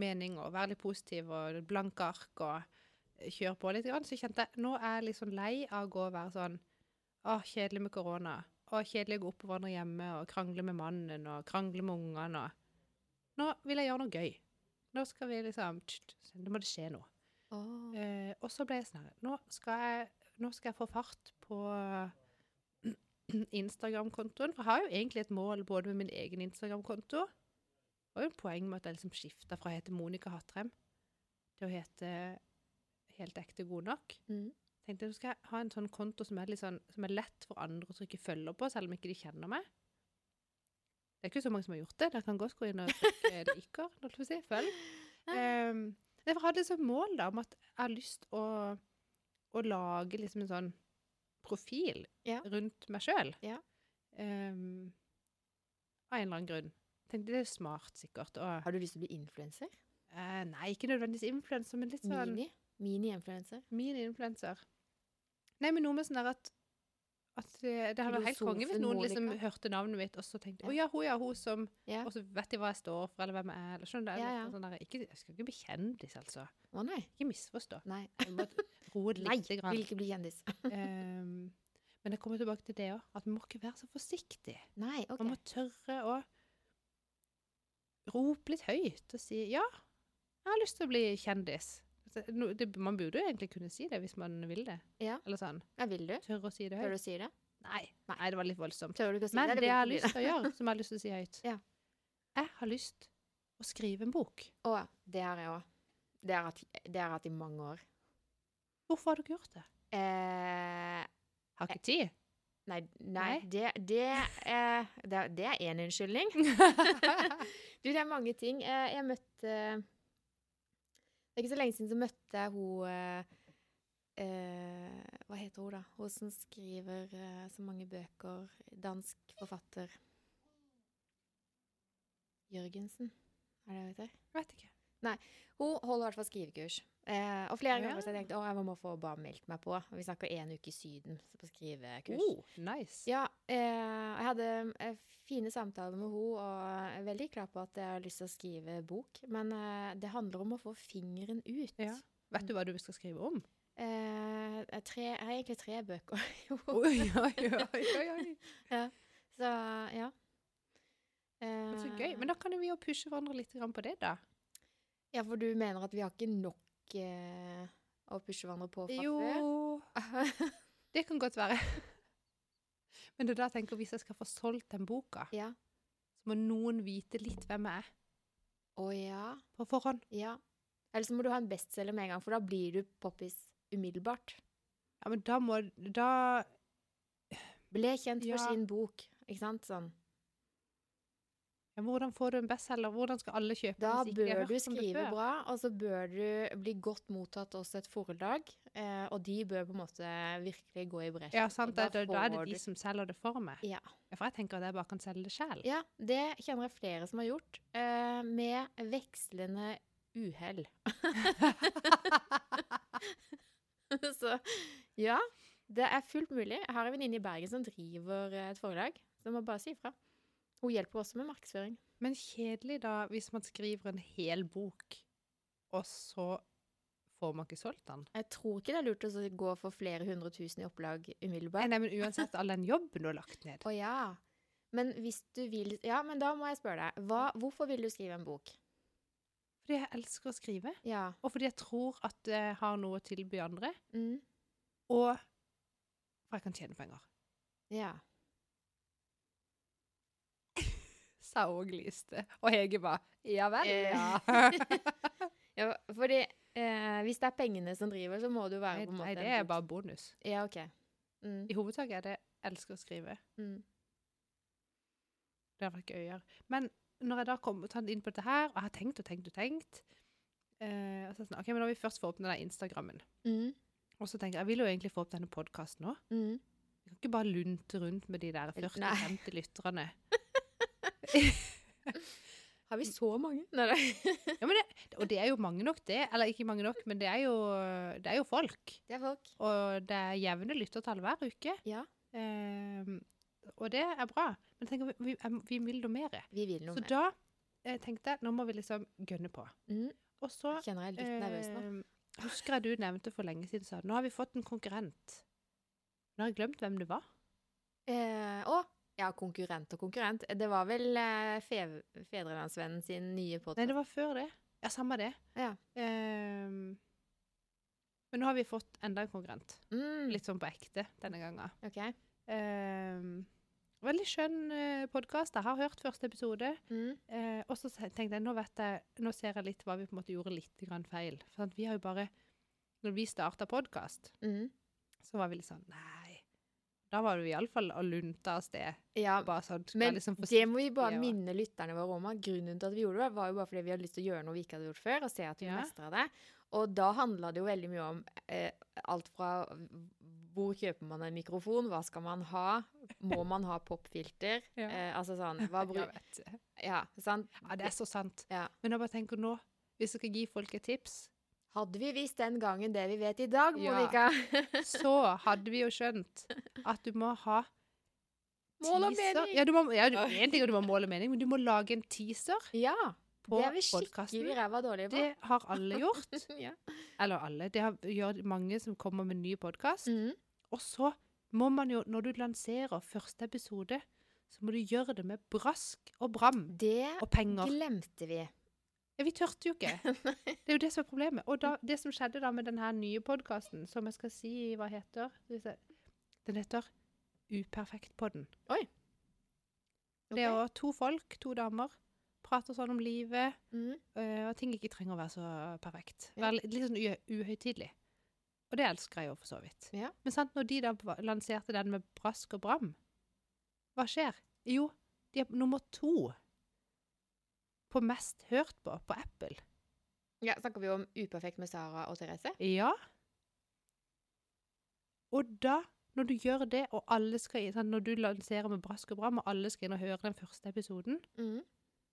S1: mening og være litt positiv og blanke ark og eh, kjøre på litt, grann, så kjente jeg nå er jeg litt sånn lei av å gå og være sånn Å, kjedelig med korona. Å, kjedelig å gå opp og vandre hjemme og krangle med mannen og krangle med ungene og Nå vil jeg gjøre noe gøy. Nå skal vi liksom tsk, tsk, Nå må det skje noe.
S2: Åh.
S1: Eh, og så ble jeg sånn her, nå, skal jeg- nå skal jeg få fart på Instagram-kontoen. For jeg har jo egentlig et mål både med min egen Instagram-konto og jo et poeng med at jeg liksom skifta fra å hete Monica Hatrem til å hete Helt ekte god nok.
S2: Mm.
S1: Tenkte jeg, nå skal jeg ha en sånn konto som er, litt sånn, som er lett for andre å trykke følger på, selv om ikke de kjenner meg. Det er ikke så mange som har gjort det. Dere kan godt gå inn og trykke liker, holdt jeg på å si. Følg. Um, jeg hadde liksom mål da, om at jeg har lyst å, å lage liksom en sånn profil
S2: Ja.
S1: rundt meg sjøl.
S2: Ja.
S1: Um, av en eller annen grunn. Tenkte det er smart, sikkert. Og,
S2: Har du lyst til å bli influenser?
S1: eh, nei, ikke nødvendigvis influenser, men litt sånn
S2: Mini? Mini-influenser?
S1: mini-influenser. Nei, men noe med sånn der at at eh, det, det hadde vært helt konge hvis
S2: Filosofen
S1: noen liksom
S2: Monica. hørte
S1: hørte navnet mitt og så tenkte
S2: Ja.
S1: Å ja, hun ja, hun som
S2: Ja.
S1: Og så vet de hva jeg står for, eller hvem jeg er. Eller, skjønner du? Det er
S2: Ja,
S1: litt
S2: ja.
S1: Sånn der, ikke, jeg skal ikke bli kjendis, altså.
S2: Å nei.
S1: Ikke misforstå.
S2: Nei.
S1: Vi må roe det
S2: Nei,
S1: litt.
S2: vil ikke bli kjendis.
S1: Ehm, men jeg kommer tilbake til det òg, at vi må ikke være så forsiktige.
S2: Nei, ok.
S1: Man må tørre å rope litt høyt og si 'ja, jeg har lyst til å bli kjendis'. Altså, no- det, man burde jo egentlig kunne si det hvis man vil det.
S2: Ja.
S1: Eller sånn.
S2: Ja, vil du?
S1: Tørre å si det
S2: Tør
S1: høyt.
S2: du å si det?
S1: Nei. Nei, det var litt voldsomt.
S2: Tør du ikke å si
S1: Men
S2: det?
S1: det
S2: vil
S1: jeg har
S2: ikke bli
S1: lyst til å gjøre, som jeg har lyst til å si høyt
S2: Ja.
S1: Jeg har lyst å skrive en bok.
S2: Å, det har jeg òg. Det har jeg hatt- det har jeg hatt i mange år.
S1: Hvorfor har du ikke gjort det?
S2: Eh,
S1: Har ikke tid.
S2: nei,
S1: Nei.
S2: nei, Det, det, er, det, er- det er én unnskyldning. Du, det er mange ting. Eh, Jeg møtte Det er ikke så lenge siden så møtte jeg hun eh, eh, Hva heter hun, da? Hun som skriver eh, så mange bøker. Dansk forfatter. Jørgensen, er det hun heter?
S1: Vet ikke.
S2: Hun holder i hvert fall skrivekurs. Eh, og flere
S1: Å, ja.
S2: ganger så har jeg tenkt at jeg må få bare meldt meg på. Og Vi snakker én uke i Syden så på skrivekurs.
S1: Oh, nice.
S2: Ja, eh, jeg hadde eh, fine samtaler med henne, og jeg er veldig klar på at jeg har lyst til å skrive bok. Men eh, det handler om å få fingeren ut.
S1: Ja. Vet du hva du skal skrive om?
S2: Eh, jeg, tre, jeg har egentlig tre bøker. Jo.
S1: Oi, oi, oi, oi, oi.
S2: Så ja.
S1: Men Så
S2: Eh,
S1: gøy. Men da kan vi jo pushe hverandre litt grann på det, da.
S2: Ja, for du mener at vi har ikke nok eh, å pushe hverandre på fra før?
S1: Jo Det kan godt være. Men det er da jeg tenker hvis jeg skal få solgt den boka,
S2: ja.
S1: så må noen vite litt hvem jeg er
S2: Å ja.
S1: på forhånd.
S2: Ja. Eller så må du ha en bestselger med en gang, for da blir du poppis umiddelbart.
S1: Ja, men da må Da
S2: Ble kjent for
S1: Ja.
S2: sin bok, ikke sant? Sånn.
S1: ja, Hvordan får du en bestselger? Hvordan skal alle kjøpe
S2: Da
S1: hvis ikke de har
S2: bør
S1: hørt
S2: du
S1: om det
S2: skrive
S1: før?
S2: bra, og så bør du bli godt mottatt også et foredrag. Eh, og de bør på en måte virkelig gå i bresjen.
S1: Ja, sant. Da,
S2: Da
S1: da, da er det
S2: får
S1: de
S2: du-
S1: som selger det for meg.
S2: Ja.
S1: Ja, For jeg tenker at jeg bare kan selge det sjøl.
S2: Ja, det kjenner jeg flere som har gjort, eh, med vekslende uhell. så ja, det er fullt mulig. Jeg har en venninne i Bergen som driver eh, et foredrag, så jeg må bare si ifra. Hun hjelper også med markedsføring.
S1: Men kjedelig da hvis man skriver en hel bok, og så får man ikke solgt den.
S2: Jeg tror ikke det er lurt å så gå for flere hundre tusen i opplag umiddelbart.
S1: Nei, nei, men uansett all den jobben du har lagt ned.
S2: Å ja. Men hvis du vil Ja, men da må jeg spørre deg. Hva, hvorfor vil du skrive en bok?
S1: Fordi jeg elsker å skrive,
S2: Ja.
S1: og fordi jeg tror at jeg har noe å tilby andre,
S2: Mm.
S1: og for jeg kan tjene penger.
S2: Ja.
S1: Sa Åge Liste. Og Hege bare Ja vel?
S2: Eh.
S1: Ja.
S2: ja fordi eh, hvis det er pengene som driver, så må du være
S1: Nei,
S2: på en måte
S1: nei,
S2: en
S1: det er
S2: bok.
S1: bare bonus.
S2: Ja, OK. Mm.
S1: I hovedsak er det jeg elsker å skrive.
S2: Mm.
S1: Det hadde vært gøyere. Men når jeg da kom og inn på dette her, og jeg har tenkt og tenkt og tenkt eh, og så er det sånn, Ok, men når vi først får opp den der Instagrammen
S2: Mm.
S1: Og så tenker jeg jeg vil jo egentlig få opp denne podkasten òg.
S2: Mm.
S1: Vi kan ikke bare lunte rundt med de der
S2: Nei.
S1: 40-50 lytterne.
S2: Har vi så mange? Nei, nei.
S1: Ja, men det, og det er jo mange nok, det. Eller ikke mange nok, men det er jo, det er jo folk.
S2: Det er folk.
S1: Og det er jevne lyttertall hver uke.
S2: Ja.
S1: Eh, og det er bra. Men jeg tenker, vi, vi, jeg- vi vil noe mer.
S2: Vi vil noe
S1: Så
S2: mer.
S1: da eh, tenkte jeg nå må vi liksom gønne på.
S2: Mm.
S1: Og så
S2: Kjenner jeg er litt nervøs nå.
S1: Eh, Husker jeg du nevnte for lenge siden sa, nå har vi fått en konkurrent. Nå har jeg glemt hvem det var.
S2: Eh, å! Ja, konkurrent og konkurrent. Det var vel eh, fev Fedrelandsvennen sin nye podkast.
S1: Nei, det var før det. Ja, samme det.
S2: Ja.
S1: Eh, men nå har vi fått enda en konkurrent.
S2: mm.
S1: Litt sånn på ekte denne gangen.
S2: OK.
S1: Eh, veldig skjønn eh, podkast. Jeg har hørt første episode.
S2: Mm.
S1: Eh, og så se- tenkte jeg, nå vet jeg, nå ser jeg litt hva vi på en måte gjorde litt grann feil. For at vi har jo bare, når vi startet podcast,
S2: Mm.
S1: så var vi litt sånn, nei. Da var vi i alle fall og lunta av sted.
S2: Ja,
S1: Bare sånn, skal
S2: Men
S1: jeg liksom
S2: det må vi bare
S1: forsiktige, og-
S2: minne lytterne våre om. at Grunnen til at vi gjorde det, var jo bare fordi vi hadde lyst til å gjøre noe vi ikke hadde gjort før, og se at vi
S1: Ja.
S2: mestret det. Og da handla det jo veldig mye om eh, alt fra hvor kjøper man en mikrofon, hva skal man ha, må man ha popfilter?
S1: Ja.
S2: Eh, altså sånn hva bru
S1: Jeg vet.
S2: Ja, sant?
S1: Ja, det er så sant.
S2: Ja.
S1: Men jeg bare tenker nå, hvis jeg skal gi folk et tips,
S2: Hadde vi visst den gangen det vi vet i dag,
S1: Ja.
S2: Monica
S1: så hadde vi jo skjønt at du må ha
S2: Mål og
S1: teaser.
S2: mening.
S1: Ja, du må, ja, du- en ting er du må ha mål og mening, men du må lage en teaser
S2: Ja!
S1: på
S2: det er vi skikkelig
S1: podcasten.
S2: ræva dårlige på.
S1: Det har alle gjort.
S2: Ja.
S1: Eller alle. Det har, gjør mange som kommer med ny podkast.
S2: Mm.
S1: Og så må man jo, når du lanserer første episode, så må du gjøre det med brask og bram
S2: Det
S1: og penger.
S2: glemte vi.
S1: Ja, vi tørte jo ikke. Det er jo det som er problemet. Og da,
S2: Mm.
S1: det som skjedde da med den her nye podkasten, som jeg skal si hva heter Skal vi se. Den heter Uperfektpodden.
S2: Oi.
S1: Det er
S2: Ok.
S1: jo to folk, to damer, prater sånn om livet.
S2: Mm.
S1: Eh, og ting ikke trenger å være så perfekt.
S2: Ja.
S1: Være litt, litt sånn u- uhøytidelig. Og det elsker jeg jo for så vidt.
S2: Ja.
S1: Men sant, når de da ba- lanserte den med brask og bram, hva skjer? Jo, de er nummer to på mest hørt på på Apple.
S2: Ja, Snakker vi om Uperfekt med Sara og Therese?
S1: Ja. Og da, når du gjør det, og alle skal inn, sant, når du lanserer med brask og bram, og alle skal inn og høre den første episoden,
S2: Mm.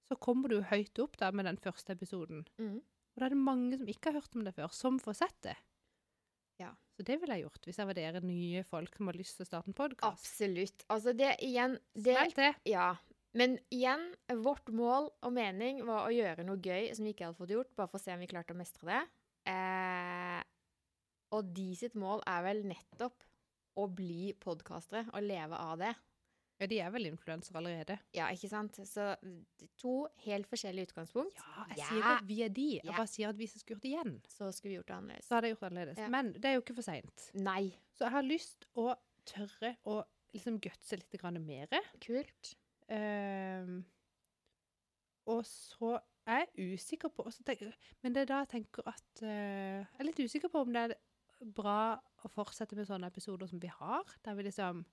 S1: så kommer du høyt opp da med den første episoden.
S2: Mm.
S1: Og da er det mange som ikke har hørt om det før, som får sett det.
S2: Ja.
S1: Så det ville jeg gjort, hvis jeg var dere nye folk som har lyst til å starte en podkast.
S2: Absolutt. Altså, det igjen
S1: Spill
S2: det,
S1: til.
S2: Ja. Men igjen, vårt mål og mening var å gjøre noe gøy som vi ikke hadde fått gjort, bare for å se om vi klarte å mestre det. Eh, og de sitt mål er vel nettopp å bli podkastere og leve av det.
S1: Ja, de er vel influensere allerede.
S2: Ja, ikke sant? Så d- to helt forskjellige utgangspunkt.
S1: Ja, jeg
S2: Ja.
S1: sier ikke at vi er de, jeg
S2: Ja.
S1: bare sier at hvis jeg skulle gjort det igjen,
S2: Så skulle vi gjort det annerledes.
S1: så hadde jeg gjort det annerledes.
S2: Ja.
S1: Men det er jo ikke for seint.
S2: Nei.
S1: Så jeg har lyst å tørre å liksom gutse litt grann mer.
S2: Kult.
S1: Ehm, og så er jeg usikker på og så tenk, Men det er da jeg tenker at eh, Jeg er litt usikker på om det er bra å fortsette med sånne episoder som vi har, der vi liksom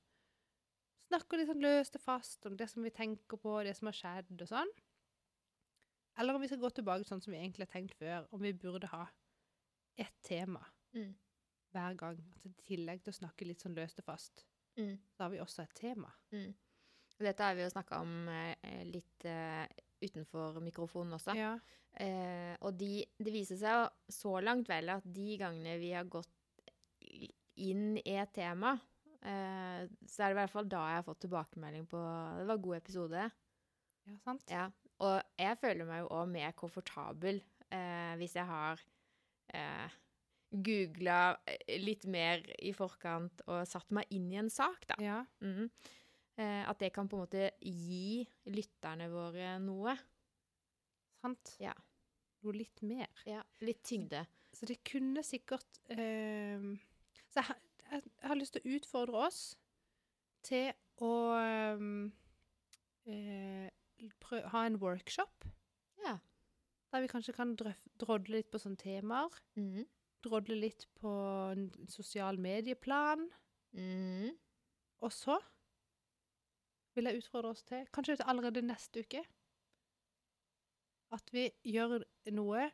S1: snakker litt sånn løst og fast om det som vi tenker på, det som har skjedd og sånn. Eller om vi skal gå tilbake sånn som vi egentlig har tenkt før, om vi burde ha ett tema
S2: Mm.
S1: hver gang. Altså, I tillegg til å snakke litt sånn løst og fast,
S2: Mm.
S1: så har vi også et tema.
S2: Dette har vi jo snakka om eh, litt eh, utenfor mikrofonen også.
S1: Ja.
S2: Eh, og de, det viser seg jo så langt vel at de gangene vi har gått i- inn i et tema, eh, så er det i hvert fall da jeg har fått tilbakemelding på Det var en god episode.
S1: ja, sant?
S2: Ja. Og jeg føler meg jo òg mer komfortabel eh, hvis jeg har eh, googla litt mer i forkant og satt meg inn i en sak, da.
S1: Ja.
S2: Mm. Eh, at det kan på en måte gi lytterne våre noe.
S1: Sant?
S2: Ja.
S1: Noe litt mer.
S2: Litt tyngde.
S1: Så det kunne sikkert ehm, Så jeg, har- jeg, jeg har lyst til å utfordre oss til å ehm, eh, prø- ha en workshop.
S2: Ja.
S1: Der vi kanskje kan drøf, drodle litt på sånne temaer.
S2: Mm.
S1: Drodle litt på en sosial medieplan.
S2: Mm.
S1: Og så vil jeg utfordre oss til, kanskje til allerede neste uke, at vi gjør noe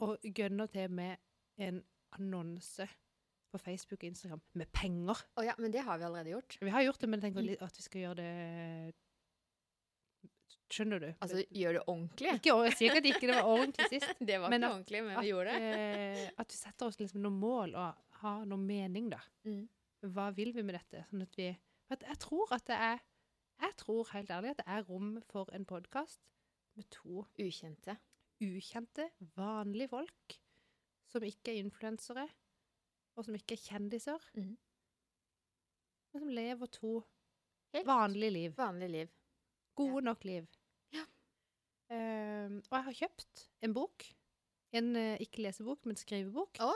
S1: og gønner til med en annonse på Facebook og Instagram med penger.
S2: Å ja, men det har vi allerede gjort.
S1: Vi har gjort det, men jeg tenker litt at vi skal gjøre det Skjønner du?
S2: Altså, gjør det ordentlig.
S1: ikke, jeg sier ikke at ikke det var ordentlig sist.
S2: Det var
S1: Men
S2: ikke
S1: at-
S2: ordentlig, men Ah,
S1: at,
S2: vi gjorde det.
S1: eh, at vi setter oss liksom noen mål og har noen mening, da.
S2: Mm.
S1: Hva vil vi med dette? Sånn at vi for at Jeg tror at det er Jeg tror helt ærlig at det er rom for en podkast med to
S2: Ukjente.
S1: ukjente, vanlige folk som ikke er influensere, og som ikke er kjendiser,
S2: Mhm.
S1: men som lever to
S2: Helt
S1: vanlige liv.
S2: vanlig liv.
S1: Gode nok liv.
S2: Ja.
S1: Ehm, og jeg har kjøpt en bok. En eh, ikke lesebok, men skrivebok.
S2: Å,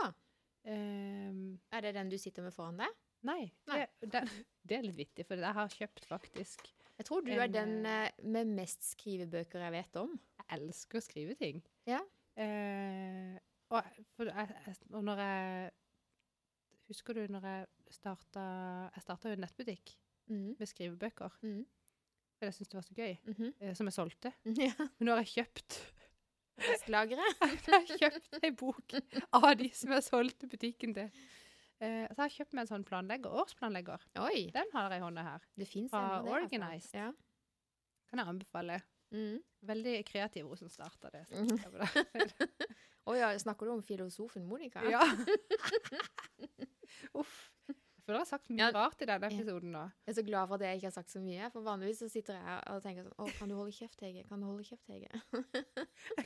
S1: Ehm,
S2: er det den du sitter med foran deg?
S1: nei,
S2: Nei.
S1: Det, det, det er litt vittig, for jeg har kjøpt faktisk
S2: Jeg tror du
S1: En,
S2: er den eh, med mest skrivebøker jeg vet om.
S1: Jeg elsker å skrive ting.
S2: Ja.
S1: Eh, og, jeg- for jeg, jeg, og når jeg Husker du når jeg starta Jeg starta jo en nettbutikk
S2: Mm.
S1: med skrivebøker.
S2: Mhm.
S1: For jeg syntes det var så gøy.
S2: mhm.
S1: eh, Som jeg solgte.
S2: Ja,
S1: Men nå har jeg kjøpt
S2: Vestlageret.
S1: Jeg har kjøpt ei bok av de som jeg solgte butikken til. Eh, så jeg har jeg kjøpt meg en sånn planlegger, årsplanlegger.
S2: Oi,
S1: Den har jeg i hånda her.
S2: det fins
S1: Fra
S2: en av det, altså.
S1: Organized.
S2: Ja.
S1: Kan jeg anbefale.
S2: Mm.
S1: Veldig kreativ hun som starta det. så
S2: Mhm.
S1: jeg bare-
S2: Å ja, snakker du om filosofen Monica?
S1: Ja. Uff. Jeg føler jeg har sagt mye
S2: Ja.
S1: rart i denne episoden nå.
S2: Jeg er så glad for at jeg ikke har sagt så mye, for vanligvis så sitter jeg og tenker sånn Å, kan du holde kjeft, Hege? Kan du holde kjeft, Hege?
S1: Jeg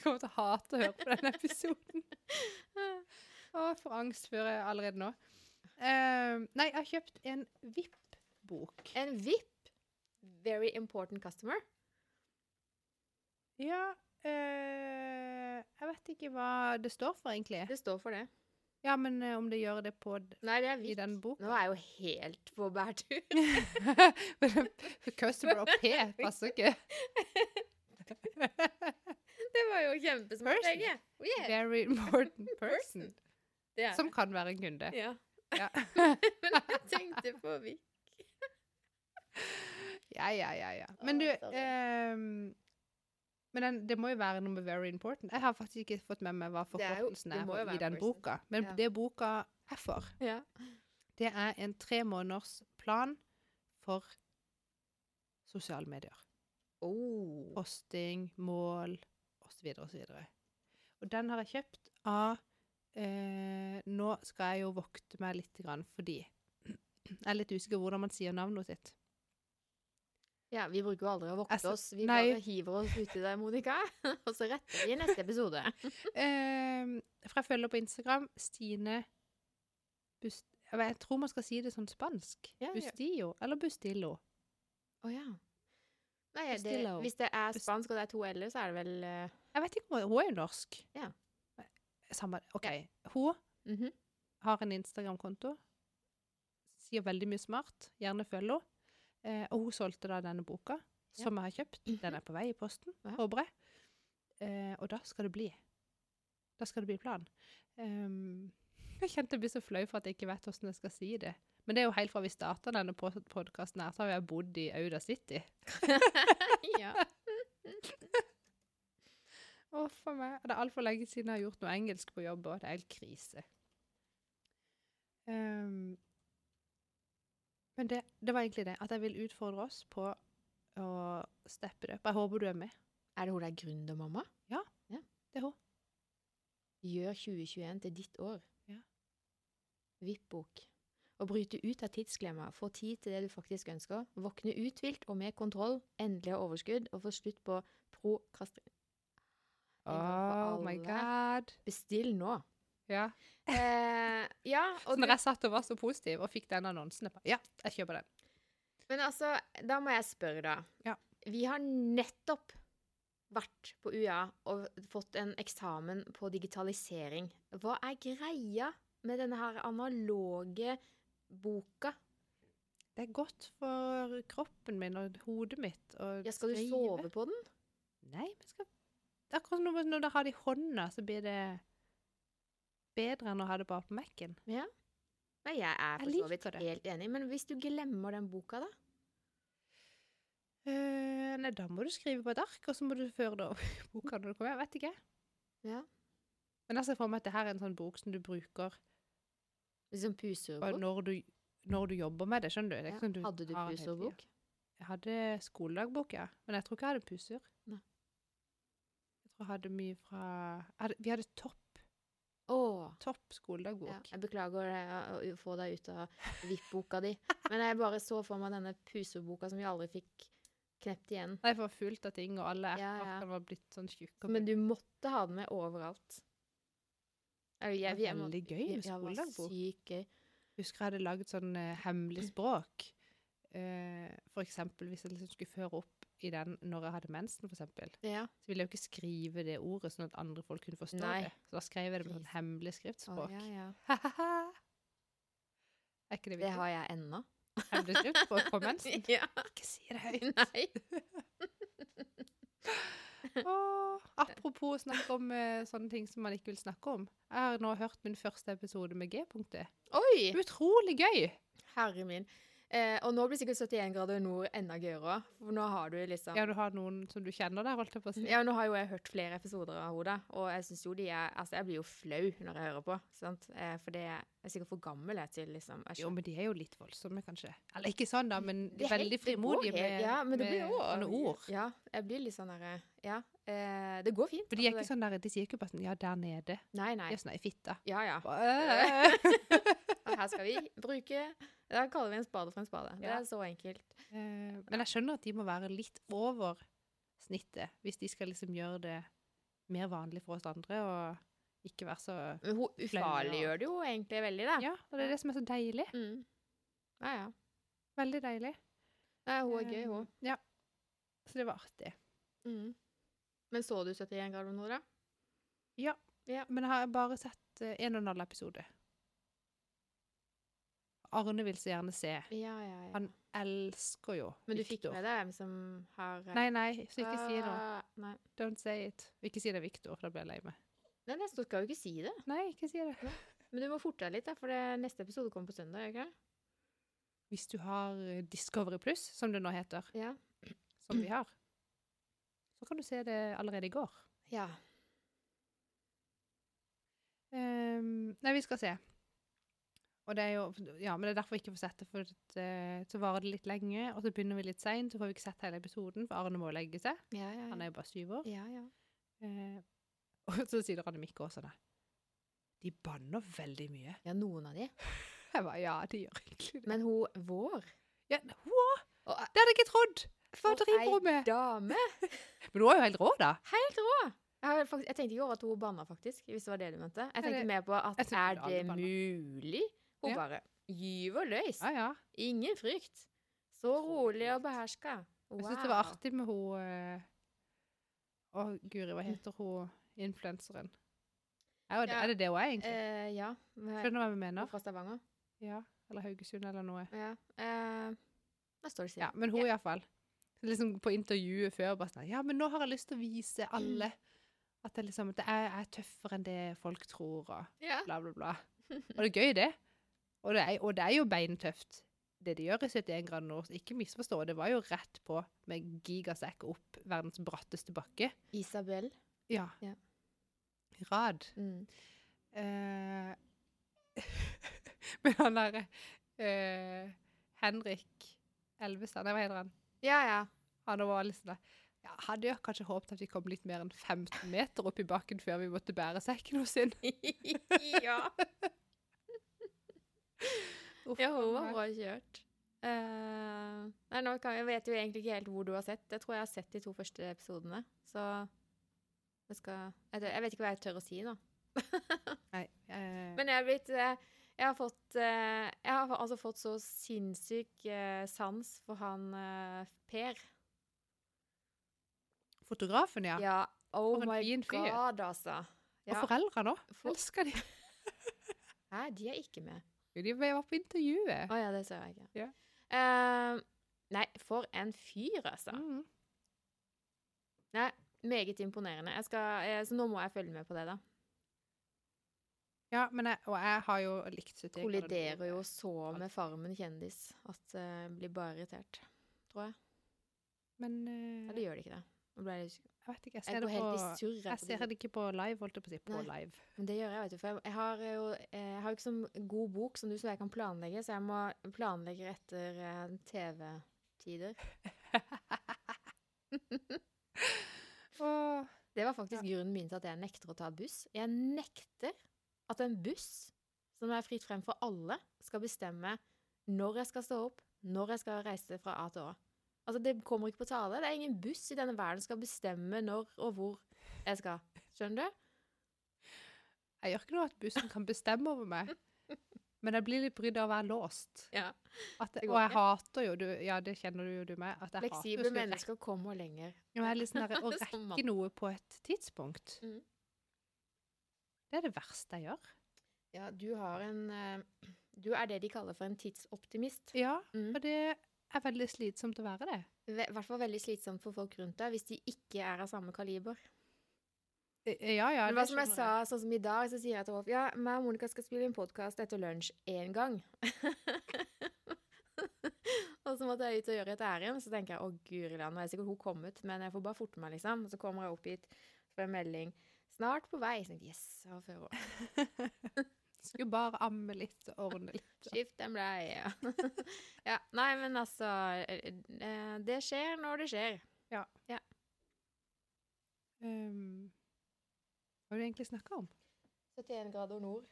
S1: kommer til å hate å høre på denne episoden. Å, for angst før jeg allerede nå. Eh, nei, jeg har kjøpt en VIP-bok.
S2: En VIP, very important customer.
S1: Ja eh, Jeg vet ikke hva det står for, egentlig.
S2: Det står for det.
S1: Ja, men eh, om det gjør det på d-
S2: Nei, det er
S1: i
S2: VIP.
S1: den boka
S2: Nå er jeg jo helt på bærtur.
S1: Customer og P passer ikke.
S2: Det var jo kjempesmart,
S1: Person.
S2: Hege. Oh, yeah.
S1: Very important person.
S2: Det er
S1: som kan være en kunde.
S2: det. Ja.
S1: Ja.
S2: Men jeg tenkte på vi.
S1: Ja, ja, ja. ja. Men du
S2: Å, sorry.
S1: ehm, Men den, det må jo være noe med 'very important'. Jeg har faktisk ikke fått med meg hva
S2: Det er jo-
S1: forkortelsen
S2: det
S1: er,
S2: må jo
S1: i
S2: være
S1: den
S2: person.
S1: boka. Men
S2: Ja.
S1: det boka er for,
S2: Ja.
S1: det er en tre måneders plan for sosiale medier.
S2: Oh.
S1: posting, mål osv. osv. Og den har jeg kjøpt av eh, Nå skal jeg jo vokte meg litt grann fordi jeg er litt usikker hvordan man sier navnet sitt.
S2: Ja, vi bruker jo aldri å vokte
S1: Altså,
S2: oss. Vi
S1: nei.
S2: bare hiver oss uti det, Monica. Og så retter vi i neste episode.
S1: Eh, for jeg følger på Instagram Stine Bust... Jeg vet- jeg tror man skal si det sånn spansk.
S2: Ja, ja.
S1: Bustillo eller Bustillo.
S2: Å ja. Nei, det,
S1: Bustillo.
S2: hvis det er
S1: Bus-
S2: spansk og det er to l-er, så er det vel eh,
S1: Jeg vet ikke om Hun er jo norsk.
S2: Ja.
S1: Samme OK. Hun
S2: mhm.
S1: har en Instagram-konto. Sier veldig mye smart. Gjerne følg henne. Eh, og hun solgte da denne boka,
S2: Ja. Mhm.
S1: som jeg har kjøpt. Den er på vei i posten,
S2: Ja.
S1: håper jeg. Eh, og da skal det bli. Da skal det bli plan. Ehm, jeg kjente jeg ble så flau for at jeg ikke vet hvordan jeg skal si det. Men det er jo helt fra vi starta denne podkasten her, så har jeg bodd i Auda City.
S2: ja.
S1: Å, for meg. Det er altfor lenge siden jeg har gjort noe engelsk på jobb, og det er helt krise. Ehm, men det, det var egentlig det, at jeg vil utfordre oss på å steppe det opp. Jeg håper du er med.
S2: Er det hun der gründermamma?
S1: Det er hun.
S2: Gjør 2021 til ditt år.
S1: Ja.
S2: VIP-bok. Å bryte ut av tidsklemma, få tid til det du faktisk ønsker, våkne uthvilt og med kontroll, endelig ha overskudd, og få slutt på prokrastin... En gang for
S1: Oh my
S2: alle.
S1: god.
S2: Bestill nå!
S1: Ja.
S2: Eh, ja,
S1: Så
S2: og du,
S1: når jeg satt og var så positiv og fikk den annonsen, jeg bare, ja, jeg kjøper den.
S2: men altså, da må jeg spørre, da.
S1: Ja.
S2: Vi har nettopp vært på UiA og fått en eksamen på digitalisering. Hva er greia med denne her analoge boka?
S1: Det er godt for kroppen min og hodet mitt å
S2: Ja, skal du
S1: skrive.
S2: sove på den?
S1: Nei, men skal... det er Akkurat som når- når du har det i hånda, så blir det bedre enn å ha det bare på Mac-en.
S2: Nei, jeg er for
S1: Jeg
S2: så vidt
S1: liker det.
S2: helt enig. Men hvis du glemmer den boka, da?
S1: Eh, nei, da må du skrive på et ark, og så må du føre det over i boka når du kommer hjem. Vet ikke.
S2: Ja.
S1: Men jeg ser for meg at det her er en sånn bok som du bruker
S2: Liksom
S1: og
S2: puseordbok?
S1: når, du, når du jobber med det. Skjønner du? Det er
S2: Ja.
S1: ikke sånn du
S2: Hadde du
S1: har den hele tiden.
S2: puseordbok?
S1: Jeg hadde skoledagbok, ja. Men jeg tror ikke jeg hadde pusur.
S2: Nei.
S1: Jeg tror jeg hadde mye fra jeg hadde, Vi hadde topp,
S2: Å!
S1: topp skoledagbok.
S2: Ja, jeg beklager det, å få deg ut av VIP-boka di. Men jeg bare så for meg denne puseboka som vi aldri fikk knept igjen.
S1: Nei, for fullt av ting, og alle
S2: Ja,
S1: apper
S2: ja.
S1: kan være blitt sånn tjukke.
S2: Men du måtte ha den med overalt. Eller jeg,
S1: det
S2: jeg,
S1: var
S2: må-
S1: veldig gøy med
S2: ja, det var
S1: skoledagbok.
S2: Sykt gøy.
S1: Husker jeg hadde laget sånn eh, hemmelig språk. Eh, for eksempel hvis jeg liksom skulle føre opp i den når jeg hadde mensen, for eksempel,
S2: Ja.
S1: så ville jeg jo ikke skrive det ordet sånn at andre folk kunne forstå
S2: Nei.
S1: det. Så da skrev jeg det med sånn hemmelig
S2: Å,
S1: skriftspråk.
S2: ja, ja.
S1: er ikke det
S2: Det
S1: viktig?
S2: har jeg ennå.
S1: Hemmelig skriftspråk på mensen?
S2: Ja.
S1: Ikke si det høyt!
S2: Nei.
S1: Åh, apropos snakk om eh, sånne ting som man ikke vil snakke om. Jeg har nå hørt min første episode med G-punktet.
S2: Oi!
S1: Utrolig gøy!
S2: Herre min. Eh, og nå blir sikkert 71 grader nord enda gøyere òg, for nå har du liksom
S1: Ja,
S2: ja.
S1: du har noen som du kjenner der, holdt jeg på å si.
S2: nå har jo jeg hørt flere episoder av henne, da, og jeg synes jo de er Altså, jeg blir jo flau når jeg hører på, sant? Eh, for det jeg er sikkert for gammel jeg til liksom jeg
S1: Jo, men de er jo litt voldsomme, kanskje. Eller ikke sånn, da, men
S2: Det er helt-
S1: veldig
S2: det går
S1: frimodige
S2: helt-
S1: med,
S2: ja, men det blir
S1: med
S2: jo-
S1: sånne ord.
S2: Ja, jeg blir litt sånn derre Ja. Eh, det går fint.
S1: For de er
S2: altså,
S1: ikke
S2: det-
S1: sånn der, de sier ikke bare sånn, ja, der nede. De
S2: Nei, nei. Eh,
S1: er sånn, nei, fitta.
S2: Ja, ja.
S1: Bare, øh.
S2: Og her skal vi bruke Da kaller vi en spade for en spade. Det
S1: Ja.
S2: er så enkelt.
S1: Eh, Men jeg skjønner at de må være litt over snittet, hvis de skal liksom gjøre det mer vanlig for oss andre, og ikke være så...
S2: Men hun ufarliggjør det jo egentlig veldig, da.
S1: Ja, og det er det som er så deilig.
S2: Mm. ja, ja.
S1: Veldig deilig.
S2: Nei, hun er gøy, hun.
S1: Ja. Så det var artig.
S2: Mm. Men så du 71 grader nord, da?
S1: Men jeg har bare sett eh, en og en halv episode. Arne vil så gjerne se.
S2: Ja, ja, ja.
S1: Han elsker jo
S2: Men du fikk
S1: Victor.
S2: med deg hvem som har eh,
S1: Nei, nei, så ikke si noe.
S2: ah, Nei.
S1: Don't say it. Ikke si det er Victor, for da blir jeg lei meg.
S2: Nei, nei, så skal jo ikke si det.
S1: Nei, ikke si det.
S2: Men du må forte deg litt, da, for det, neste episode kommer på søndag. gjør Ikke? det?
S1: Hvis du har eh, Discovery Plus, som det nå heter,
S2: Ja.
S1: som vi har, så kan du se det allerede i går.
S2: ja.
S1: Ehm, nei, vi skal se. Og det er jo, ja, men det er derfor vi ikke får sett det, for at, eh, så varer det litt lenge, og så begynner vi litt seint, så får vi ikke sett hele episoden, for Arne må jo legge seg.
S2: Ja, ja,
S1: Han
S2: ja.
S1: er jo bare syv år.
S2: ja, ja.
S1: Eh, og så sier Anne Mikke også det. De banner veldig mye.
S2: ja, noen av de.
S1: Jeg bare, ja, de gjør egentlig det.
S2: Men hun vår
S1: Ja, wow,
S2: og,
S1: det hadde jeg ikke trodd! Hva
S2: For
S1: driver
S2: ei
S1: hun med?
S2: Dame!
S1: Men hun er jo helt rå, da.
S2: Helt rå! Jeg, har faktisk, jeg tenkte ikke over at hun banna, faktisk. Hvis det var det du mente. Jeg
S1: Ja,
S2: tenkte
S1: det-
S2: mer på at
S1: jeg tenkte
S2: er
S1: alle
S2: det
S1: banna.
S2: mulig? Hun
S1: Ja.
S2: bare gyver løs.
S1: Ja, ja.
S2: Ingen frykt. Så rolig og beherska. Wow.
S1: Jeg syns det var artig med hun eh, Å, guri, hva heter hun influenseren? Er, jo det-
S2: Ja,
S1: er det det hun er, egentlig?
S2: Eh, ja. Med,
S1: Skjønner du hva vi
S2: hun
S1: mener?
S2: fra Stavanger.
S1: Ja, Eller Haugesund, eller noe.
S2: Ja. Eh, der står det stille.
S1: Ja, Men hun, iallfall. Liksom på intervjuet før bare sånn Ja, men nå har jeg lyst til å vise alle at det liksom at det er, er tøffere enn det folk tror, og
S2: Ja.
S1: bla, bla, bla. Og det er gøy, det. Og det er, og det er jo beintøft, det de gjør i 71 grader nord. så Ikke misforstå, det var jo rett på med gigasekk opp verdens bratteste bakke.
S2: Isabel.
S1: Ja.
S2: Ja.
S1: Rad.
S2: Mm.
S1: Eh, men han derre eh, Henrik Elvestad, nei, hva heter han?
S2: Ja, ja.
S1: Han var liksom der. Ja, hadde jo kanskje håpet at vi kom litt mer enn 15 meter opp i bakken før vi måtte bære sekken hos sin.
S2: ja.
S1: Uff,
S2: ja, hun
S1: meg.
S2: var bra kjørt. Eh, nei, nå kan, jeg vet jo egentlig ikke helt hvor du har sett. Jeg tror jeg har sett de to første episodene. Så jeg, skal, jeg, tør- jeg vet ikke hva jeg tør å si nå.
S1: Nei, eh,
S2: Men jeg har blitt eh, Jeg har fått eh, Jeg har fa- altså fått så sinnssyk eh, sans for han eh, Per.
S1: fotografen, ja.
S2: Ja. Oh
S1: For en
S2: my
S1: fin fyr.
S2: god, altså.
S1: Og
S2: Ja.
S1: foreldrene òg.
S2: For-
S1: Elsker de.
S2: Nei, de er ikke med.
S1: Jo, De var på intervjuet.
S2: Å ja, det ser jeg ikke.
S1: Ja.
S2: Eh, nei, for en fyr, altså.
S1: Mm.
S2: Nei, meget imponerende. Jeg skal, eh, så nå må jeg følge med på det, da.
S1: Ja, men jeg, og jeg har jo likt 71 grader nord.
S2: Kolliderer jo så med Farmen kjendis at eh, jeg blir bare irritert.
S1: Men eh,
S2: Eller gjør det ikke det? Nå ble jeg litt usikker.
S1: jeg vet ikke, jeg
S2: Jeg
S1: ser det
S2: går helt i
S1: på
S2: surr. jeg,
S1: Jeg
S2: på
S1: ser
S2: de-
S1: det ikke på live, holdt jeg på å si. På
S2: Nei.
S1: live.
S2: Men det gjør jeg, vet du. For jeg, jeg har jo eh, jeg har jo ikke sånn god bok som du, så jeg kan planlegge. Så jeg må planlegge etter eh, TV-tider.
S1: Åh,
S2: Det var faktisk grunnen min til at jeg nekter å ta buss. Jeg nekter at en buss, som er fritt frem for alle, skal bestemme når jeg skal stå opp, når jeg skal reise fra A til Å. Altså, det kommer ikke på tale. Det er ingen buss i denne verden som skal bestemme når og hvor jeg skal. Skjønner du?
S1: jeg gjør ikke noe at bussen kan bestemme over meg, men jeg blir litt brydd av å være låst.
S2: Ja.
S1: At,
S2: Det går
S1: og jeg
S2: ikke.
S1: hater jo, du, ja, det kjenner du jo du meg, at jeg hater
S2: Fleksible
S1: jo å skulle
S2: mennesker kommer lenger.
S1: rekke- Jeg er litt sånn der, å
S2: Som mann.
S1: rekke noe på et tidspunkt.
S2: Mhm.
S1: Det er det verste jeg gjør.
S2: Ja, du har en eh, Du er det de kaller for en tidsoptimist.
S1: Ja,
S2: Mm.
S1: og det er veldig slitsomt å være det.
S2: I hvert fall veldig slitsomt for folk rundt deg hvis de ikke er av samme kaliber.
S1: Eh, Ja, ja,
S2: Men
S1: det
S2: hva som jeg
S1: skjønner
S2: sa, sånn som i dag, så sier jeg til Rolf Ja, meg og Monica skal spille en podkast etter lunsj én gang. og så måtte jeg ut og gjøre et ærend, så tenker jeg å guri land, nå er sikkert hun kommet, men jeg får bare forte meg, liksom. Og så kommer jeg opp hit, så får jeg melding Snart på vei. Så tenkte jeg, yes, jeg var før også.
S1: Skulle bare amme litt og ordne litt.
S2: Skift en bleie. ja, nei, men altså eh, eh, Det skjer når det skjer. Ehm,
S1: Um, hva er det du egentlig snakker om?
S2: 71 grader nord.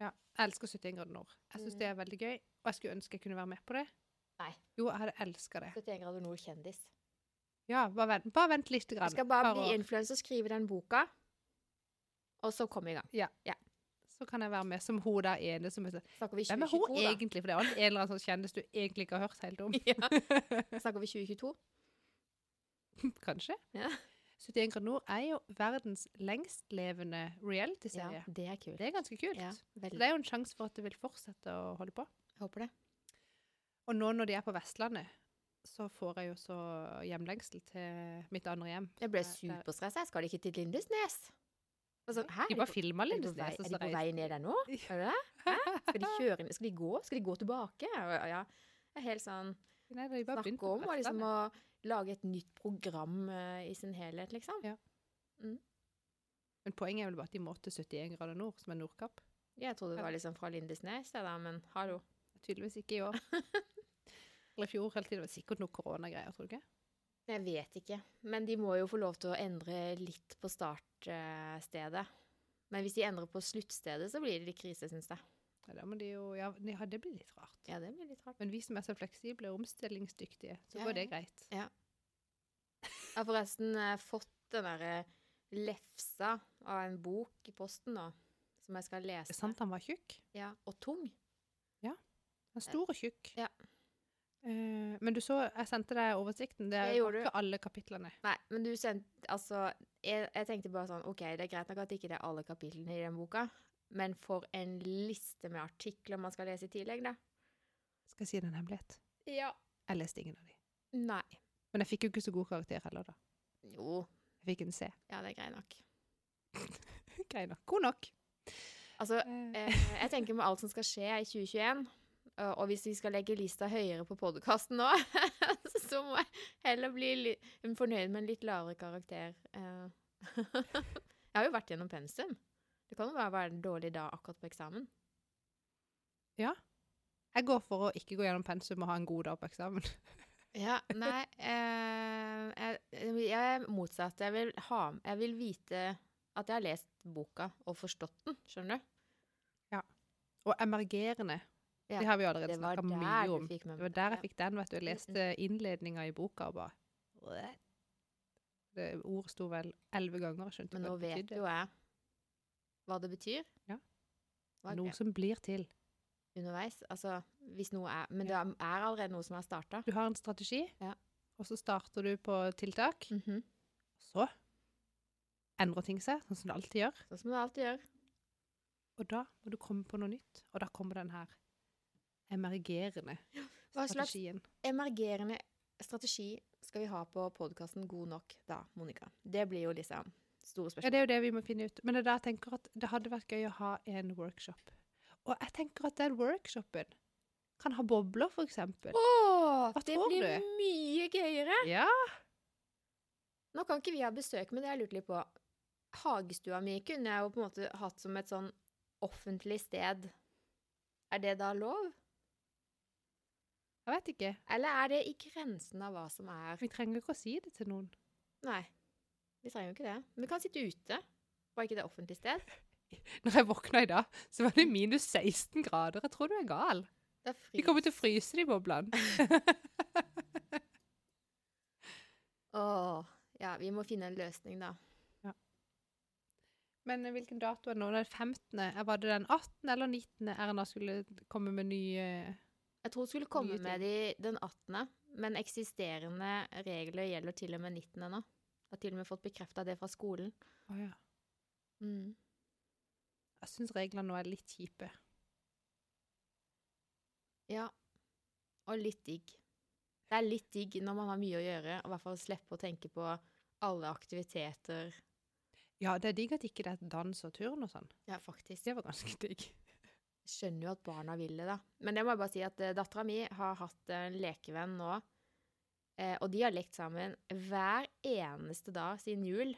S1: Ja, jeg elsker 71 grader nord. Jeg syns
S2: Mm.
S1: det er veldig gøy, og jeg skulle ønske jeg kunne være med på det.
S2: Nei.
S1: Jo, jeg hadde elska det.
S2: 71 grader nord kjendis.
S1: Ja, bare vent, bare vent litt. Grann.
S2: Jeg skal bare
S1: Par
S2: bli
S1: år,
S2: influenser, skrive den boka, og så komme i gang.
S1: Så kan jeg være med som hun der ene som er sånn
S2: Snakker vi
S1: Hvem er hun
S2: 2022, da?
S1: egentlig? For det er alltid en eller annen sånn kjendis du egentlig ikke har hørt helt om.
S2: Ja. Snakker vi 2022?
S1: Kanskje.
S2: Ja.
S1: 71 grader nord er jo verdens lengstlevende
S2: Ja,
S1: realityserie.
S2: det er kult.
S1: Det er ganske kult.
S2: Ja,
S1: Så
S2: veldig.
S1: det er jo en sjanse for at det vil fortsette å holde på.
S2: Håper det.
S1: Og nå når de er på Vestlandet, så får jeg jo så hjemlengsel til mitt andre hjem.
S2: Jeg ble
S1: som er der-
S2: superstressa. Jeg skal ikke til Lindesnes. Og sånn, Hæ,
S1: De
S2: er
S1: bare
S2: på-
S1: filma
S2: er de på
S1: Lindesnes.
S2: vei-
S1: og så
S2: Er de på
S1: reiste-
S2: vei ned der nå?
S1: Ja.
S2: Er det det? Hæ? Skal de kjøre inn? Skal de gå? Skal de gå tilbake? Og- og Ja. Jeg er helt sånn
S1: Nei, de bare begynte
S2: snakke om
S1: på
S2: og liksom
S1: Vestlandet.
S2: å lage et nytt program eh, i sin helhet, liksom.
S1: Men poenget er vel bare at de måtte 71 grader nord, som er Nordkapp.
S2: Jeg trodde det var liksom fra Lindesnes, det der, men hallo.
S1: Tydeligvis ikke i år. Eller i fjor hele tiden. Det var sikkert noe koronagreier, tror du ikke?
S2: Jeg vet ikke. Men de må jo få lov til å endre litt på startstedet. Men hvis de endrer på sluttstedet, så blir det litt krise, syns jeg.
S1: Ja, da må de jo, ja, nei, ja, det blir litt rart.
S2: Ja, det blir litt rart.
S1: Men vi som er så fleksible og omstillingsdyktige, så
S2: Ja,
S1: går det
S2: ja.
S1: greit.
S2: Jeg har forresten eh, fått den derre lefsa av en bok i posten nå, som jeg skal
S1: Det
S2: lese.
S1: er sant han var tjukk.
S2: Ja, og tung.
S1: Han er stor og tjukk.
S2: Ja.
S1: Eh, men du så, jeg sendte deg oversikten. Det er jo
S2: Jeg gjorde
S1: ikke alle kapitlene.
S2: Nei, men du sendte Altså, jeg, jeg tenkte bare sånn OK, det er greit nok at ikke det er alle kapitlene i den boka, men for en liste med artikler man skal lese i tillegg, da.
S1: Skal jeg si deg en hemmelighet?
S2: Ja.
S1: Jeg leste ingen av de.
S2: Nei.
S1: Men jeg fikk jo ikke så god karakter heller, da.
S2: Jo.
S1: Jeg fikk en C.
S2: Ja, det er greit nok.
S1: Grei nok. God nok.
S2: Altså,
S1: Eh,
S2: eh, jeg tenker med alt som skal skje i 2021, eh, og hvis vi skal legge lista høyere på podkasten nå, så må jeg heller bli li fornøyd med en litt lavere karakter. eh. jeg har jo vært gjennom pensum. Det kan jo bare være en dårlig dag akkurat på eksamen.
S1: jeg går for å ikke gå gjennom pensum og ha en god dag på eksamen.
S2: Ja, nei eh, jeg, jeg er motsatt. Jeg vil, ha, jeg vil vite at jeg har lest boka og forstått den, skjønner du?
S1: Og emergerende.
S2: Ja,
S1: Det har vi jo allerede
S2: Det var
S1: snakka mye
S2: der
S1: om.
S2: du fikk med
S1: Det var der jeg
S2: ja.
S1: fikk den, vet du. Jeg
S2: Mm,
S1: leste innledninga i boka og bare What? det, Ord sto vel elleve ganger, jeg skjønte
S2: Men
S1: hva
S2: nå
S1: det
S2: vet
S1: betydde.
S2: jo jeg hva det betyr.
S1: Ja.
S2: Hva er
S1: Noe
S2: det?
S1: som blir til.
S2: Underveis. Altså, hvis noe er Men det er allerede noe som er starta.
S1: Du har en strategi,
S2: Ja. Mm.
S1: og så starter du på tiltak. Så endrer ting seg, sånn som det alltid gjør.
S2: Sånn som det alltid gjør.
S1: Og da må du komme på noe nytt. Og da kommer den her emergerende
S2: Hva slags
S1: strategien.
S2: emergerende strategi skal vi ha på podkasten God nok da, Monica? Det blir jo liksom store
S1: Ja,
S2: spørsmål.
S1: det er jo det vi må finne ut. Men det er da jeg tenker at det hadde vært gøy å ha en workshop. Og jeg tenker at den workshopen kan ha bobler, for eksempel.
S2: Åh,
S1: Hva
S2: det
S1: tror
S2: blir
S1: du?
S2: mye gøyere!
S1: Ja,
S2: Nå kan ikke vi ha besøk, men det har jeg lurt litt på. Hagestua mi kunne jeg jo på en måte hatt som et sånn offentlig sted. Er det da lov?
S1: jeg vet ikke.
S2: Eller er det i grensen av hva som er
S1: Vi trenger ikke å si det til noen.
S2: Nei, vi trenger jo ikke det. Men vi kan sitte ute. Var ikke det offentlig sted?
S1: Når jeg våkna i dag, så var det minus 16 grader. Jeg tror du er gal.
S2: Det er
S1: Vi
S2: fri.
S1: kommer til å fryse de boblene.
S2: Åh, ja, vi må finne en løsning, da.
S1: Men eh, hvilken dato er det nå? Det er 15. Eh, Var det den 18. eller 19. Erna skulle komme med nye
S2: Jeg tror det skulle komme
S1: Mye
S2: med de den 18., men eksisterende regler gjelder til og med 19. nå. Jeg har til og med fått bekrefta det fra skolen. Mm,
S1: Å ja. Jeg syns reglene nå er litt kjipe.
S2: Ja. Og litt digg. Det er litt digg når man har mye å gjøre, og i hvert fall slippe å tenke på alle aktiviteter.
S1: Ja, det er digg at ikke det er dans og turn og sånn.
S2: Ja, faktisk.
S1: Det var ganske digg.
S2: skjønner jo at barna vil det, da. Men det må jeg bare si at eh, dattera mi har hatt en lekevenn nå, eh, og de har lekt sammen hver eneste dag siden jul.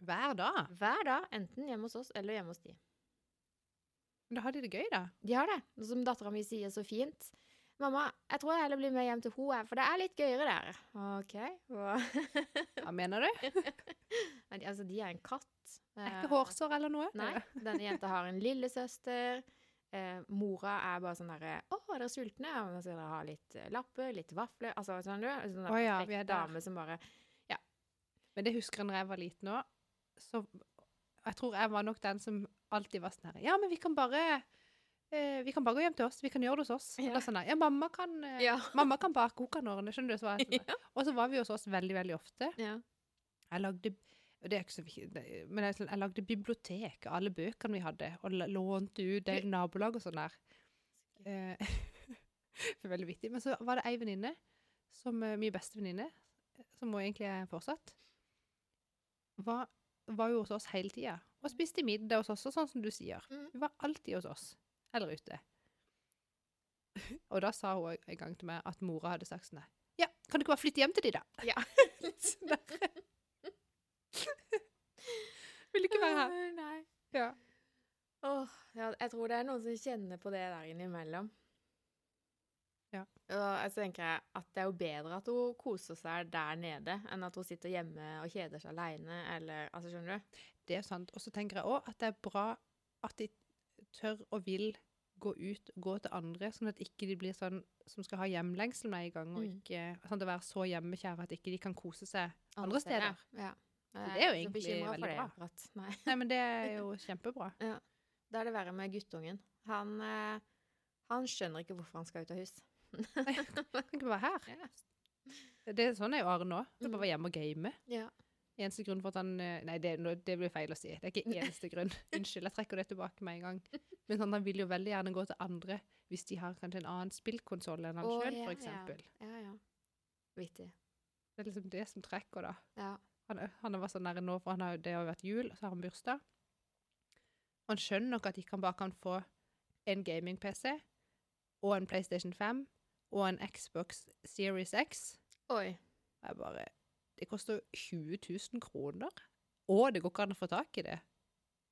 S1: Hver dag.
S2: Hver dag, enten hjemme hos oss eller hjemme hos de.
S1: Men da har de det gøy, da.
S2: De har det, og som dattera mi sier så fint. Mamma, jeg tror jeg heller blir med hjem til henne, for det er litt gøyere der. OK. Hva?
S1: Hva mener du?
S2: Men de- Altså, de er en katt. Eh,
S1: Er ikke hårsår eller noe?
S2: Nei, denne jenta har en lillesøster. Eh, mora er bare sånn derre 'Å, er dere sultne?' Ja, men så skal dere ha litt eh, lapper, litt vafler Altså, sånn du? Sånn der
S1: Å ja,
S2: perfekt
S1: vi er der.
S2: dame som bare
S1: Men det husker jeg når jeg var liten òg. Så jeg tror jeg var nok den som alltid var sånn her Ja, men vi kan bare eh, vi kan bare gå hjem til oss. Vi kan gjøre det hos oss.
S2: Ja.
S1: Eller sånn her, ja, mamma kan, eh,
S2: Ja.
S1: mamma kan bake, hun kan ordne. Skjønner du? Så var jeg sånn. Og så var vi hos oss veldig, veldig ofte.
S2: ja.
S1: Jeg lagde det er ikke så viktig, det- men jeg, jeg lagde bibliotek av alle bøkene vi hadde, og la- lånte ut det nabolag og sånn der. Eh, det var veldig vittig. Men så var det ei venninne, som eh, min beste venninne, som hun egentlig er fortsatt, var, var jo hos oss hele tida. Og spiste middag hos oss, og sånn som du sier.
S2: Mm.
S1: Hun var alltid hos oss. Eller ute. Og da sa hun en gang til meg at mora hadde sagt sånn Ja, kan du ikke bare flytte hjem til de, da?
S2: Ja.
S1: Litt sånn der. Vil ikke være her.
S2: Åh, Nei.
S1: Ja.
S2: Åh, ja, jeg tror det er noen som kjenner på det der innimellom.
S1: Ja.
S2: Og så tenker jeg at det er jo bedre at hun koser seg der nede, enn at hun sitter hjemme og kjeder seg alene, eller altså, skjønner du?
S1: Det er sant. Og så tenker jeg òg at det er bra at de tør og vil gå ut, gå til andre, sånn at ikke de blir sånn som skal ha hjemlengsel med en gang, og
S2: Mm.
S1: ikke sånn at være så hjemmekjære at ikke de kan kose seg. Andre steder.
S2: Ja.
S1: Så det er jo
S2: Jeg ikke så
S1: egentlig
S2: bekymret for
S1: veldig
S2: det
S1: bra.
S2: akkurat. Nei.
S1: Nei, men det er jo kjempebra.
S2: Da er det verre med guttungen. Han, eh, han skjønner ikke hvorfor han skal ut av hus.
S1: Nei, jeg kan ikke bare være her. Det er sånn er jo Arne òg. Skal bare være hjemme og game.
S2: Mm. Ja.
S1: Eneste grunn for at han eh, Nei, det, nå- det blir feil å si. Det er ikke eneste grunn. Unnskyld, jeg trekker det tilbake med en gang. Men sånn, han vil jo veldig gjerne gå til andre hvis de har kanskje en annen spillkonsoll enn han
S2: Å,
S1: sjøl,
S2: ja,
S1: for eksempel.
S2: Ja, ja. Vittig.
S1: Det er liksom det som trekker, da.
S2: Ja.
S1: Han, han var sånn nære nå, for han har, det har jo vært jul, og så har han bursdag. Han skjønner nok at ikke han bare kan få en gaming-PC og en PlayStation 5 og en Xbox Series X.
S2: Oi.
S1: Og Jeg bare Det koster jo 20 000 kroner. Og det går ikke an å få tak i det.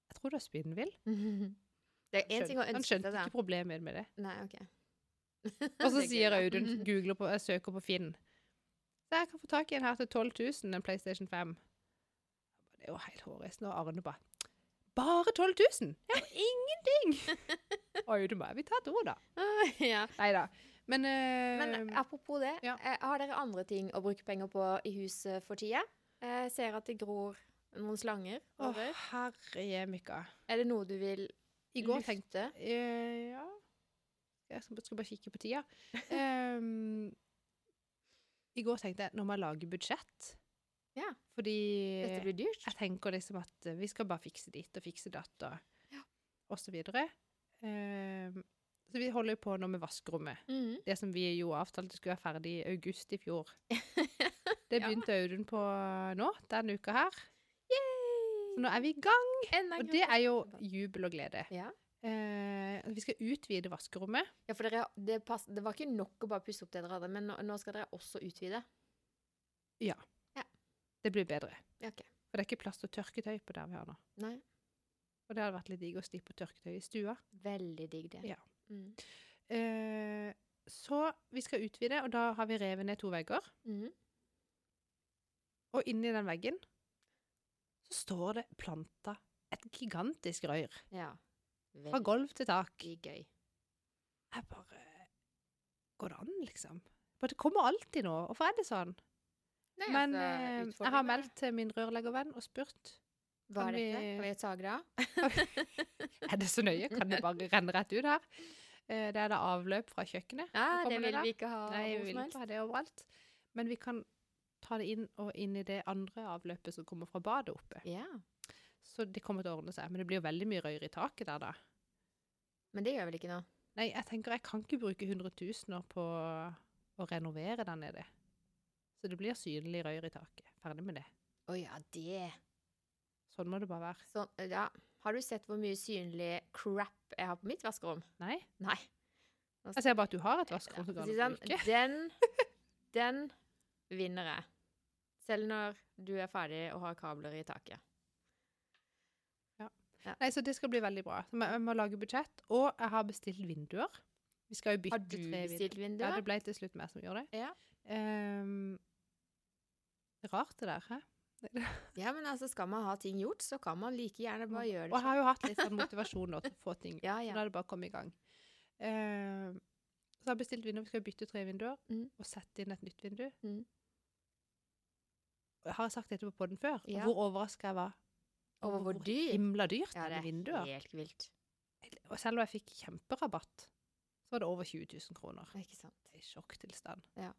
S1: Jeg tror du er spinnvill.
S2: det er én ting
S1: Skjønner-
S2: å
S1: han
S2: ønske
S1: skjønte
S2: seg, da.
S1: ikke problemet mitt med det.
S2: Nei, OK.
S1: Og så
S2: Det er gøy,
S1: sier
S2: da.
S1: Audun, googler på, jeg søker på Finn Så jeg kan få tak i en her til 12 000, en PlayStation 5. Det er jo helt hårreisende. Og Arne bare Bare 12 000? Ja, ingenting! Audun bare Vi tar et ord, da.
S2: ja.
S1: Nei da. Men,
S2: Men
S1: eh,
S2: apropos det,
S1: ja.
S2: eh, har dere andre ting å bruke penger på i huset for tida? Jeg ser at det gror noen slanger.
S1: Å,
S2: over.
S1: herre jemika.
S2: Er det noe du vil
S1: I går tenkte
S2: lufte?
S1: Eh, ja Jeg skal, skal bare kikke på tida. Ehm, I går tenkte jeg nå må jeg lage budsjett.
S2: Ja.
S1: Fordi
S2: Dette blir dyrt.
S1: jeg tenker liksom at eh, vi skal bare fikse ditt og fikse datt og, og så videre. Ehm, så vi holder jo på nå med vaskerommet.
S2: Mhm.
S1: Det som vi jo avtalte skulle være ferdig i august i fjor. Det
S2: Ja.
S1: begynte Audun på nå, denne uka her. Så nå er vi i gang,
S2: Enda
S1: og
S2: grunn
S1: det
S2: til å
S1: er jo
S2: kjøpe.
S1: jubel og glede.
S2: ja.
S1: Eh, vi skal utvide vaskerommet.
S2: ja, for dere, det, pass, det var ikke nok å bare pusse opp det dere hadde, men nå, nå skal dere også utvide.
S1: Det blir bedre.
S2: Ja, ok.
S1: For det er ikke plass til tørketøy på der vi har nå.
S2: Nei,
S1: Og det hadde vært litt digg å slippe tørketøy i stua.
S2: veldig digg det.
S1: Ja.
S2: Mhm.
S1: Eh, så vi skal utvide, og da har vi revet ned to vegger.
S2: Mhm.
S1: Og inni den veggen så står det planta et gigantisk røyr.
S2: ja.
S1: Fra
S2: Veldig
S1: gulv til tak.
S2: gøy.
S1: Jeg bare Går det an, liksom? For det kommer alltid nå. Hvorfor er det sånn?
S2: Nei,
S1: Men eh,
S2: altså,
S1: jeg har
S2: utfordringer.
S1: meldt til min rørleggervenn og spurt
S2: Hva
S1: kan
S2: er dette?
S1: vi-
S2: Kan vi sage det av?
S1: er det så nøye, kan det bare renne rett ut her. Eh, det er da avløp fra kjøkkenet.
S2: Ja,
S1: Kommer
S2: Ah, det
S1: det
S2: vil
S1: da?
S2: vi ikke ha
S1: Nei,
S2: hvor
S1: vi vil ikke
S2: som helst.
S1: ha det overalt. Men vi kan ta det inn og inn i det andre avløpet som kommer fra badet oppe.
S2: Ja,
S1: Så det kommer til å ordne seg. Men det blir jo veldig mye røyr i taket der, da.
S2: men det gjør vel ikke noe.
S1: Nei, jeg tenker jeg kan ikke bruke hundretusener på å renovere der nede. Så det blir synlig røyr i taket. Ferdig med det.
S2: Å ja, det.
S1: Sånn må det bare være.
S2: Sånn, ja. Har du sett hvor mye synlig crap jeg har på mitt vaskerom?
S1: Nei?
S2: Nei.
S1: Jeg ser bare at du har et
S2: Ja,
S1: vaskerom som
S2: for å
S1: går
S2: si
S1: an å
S2: sånn,
S1: bruke.
S2: den, den vinner jeg. Selv når du er ferdig og har kabler i taket.
S1: Nei, så det skal bli veldig bra. Så jeg må- jeg må lage budsjett, og jeg har bestilt vinduer. Vi skal jo bytte
S2: Har
S1: tre
S2: du
S1: vinduer.
S2: bestilt
S1: Ja,
S2: vinduer?
S1: det ble til slutt meg som gjorde det.
S2: Ja.
S1: Ehm, rart det der, hæ?
S2: Ja, men altså, skal man ha ting gjort, så kan man like gjerne bare gjøre
S1: Og jeg
S2: det.
S1: har jo hatt litt sånn motivasjon nå til å få ting
S2: Ja,
S1: Så
S2: ja.
S1: da er det bare å komme i gang. Ehm, så har jeg bestilt vinduer. Vi skal bytte tre vinduer
S2: Mm.
S1: og sette inn et nytt vindu.
S2: Mm.
S1: Har jeg sagt dette på podden før?
S2: Ja.
S1: Hvor overraska jeg var.
S2: Over hvor dyr?
S1: Himla dyrt
S2: Ja, det
S1: med
S2: er
S1: vinduer.
S2: helt vilt.
S1: Og selv om jeg fikk kjemperabatt, så var det over 20 000 kroner.
S2: Det er ikke sant.
S1: I sjokktilstand.
S2: Ja.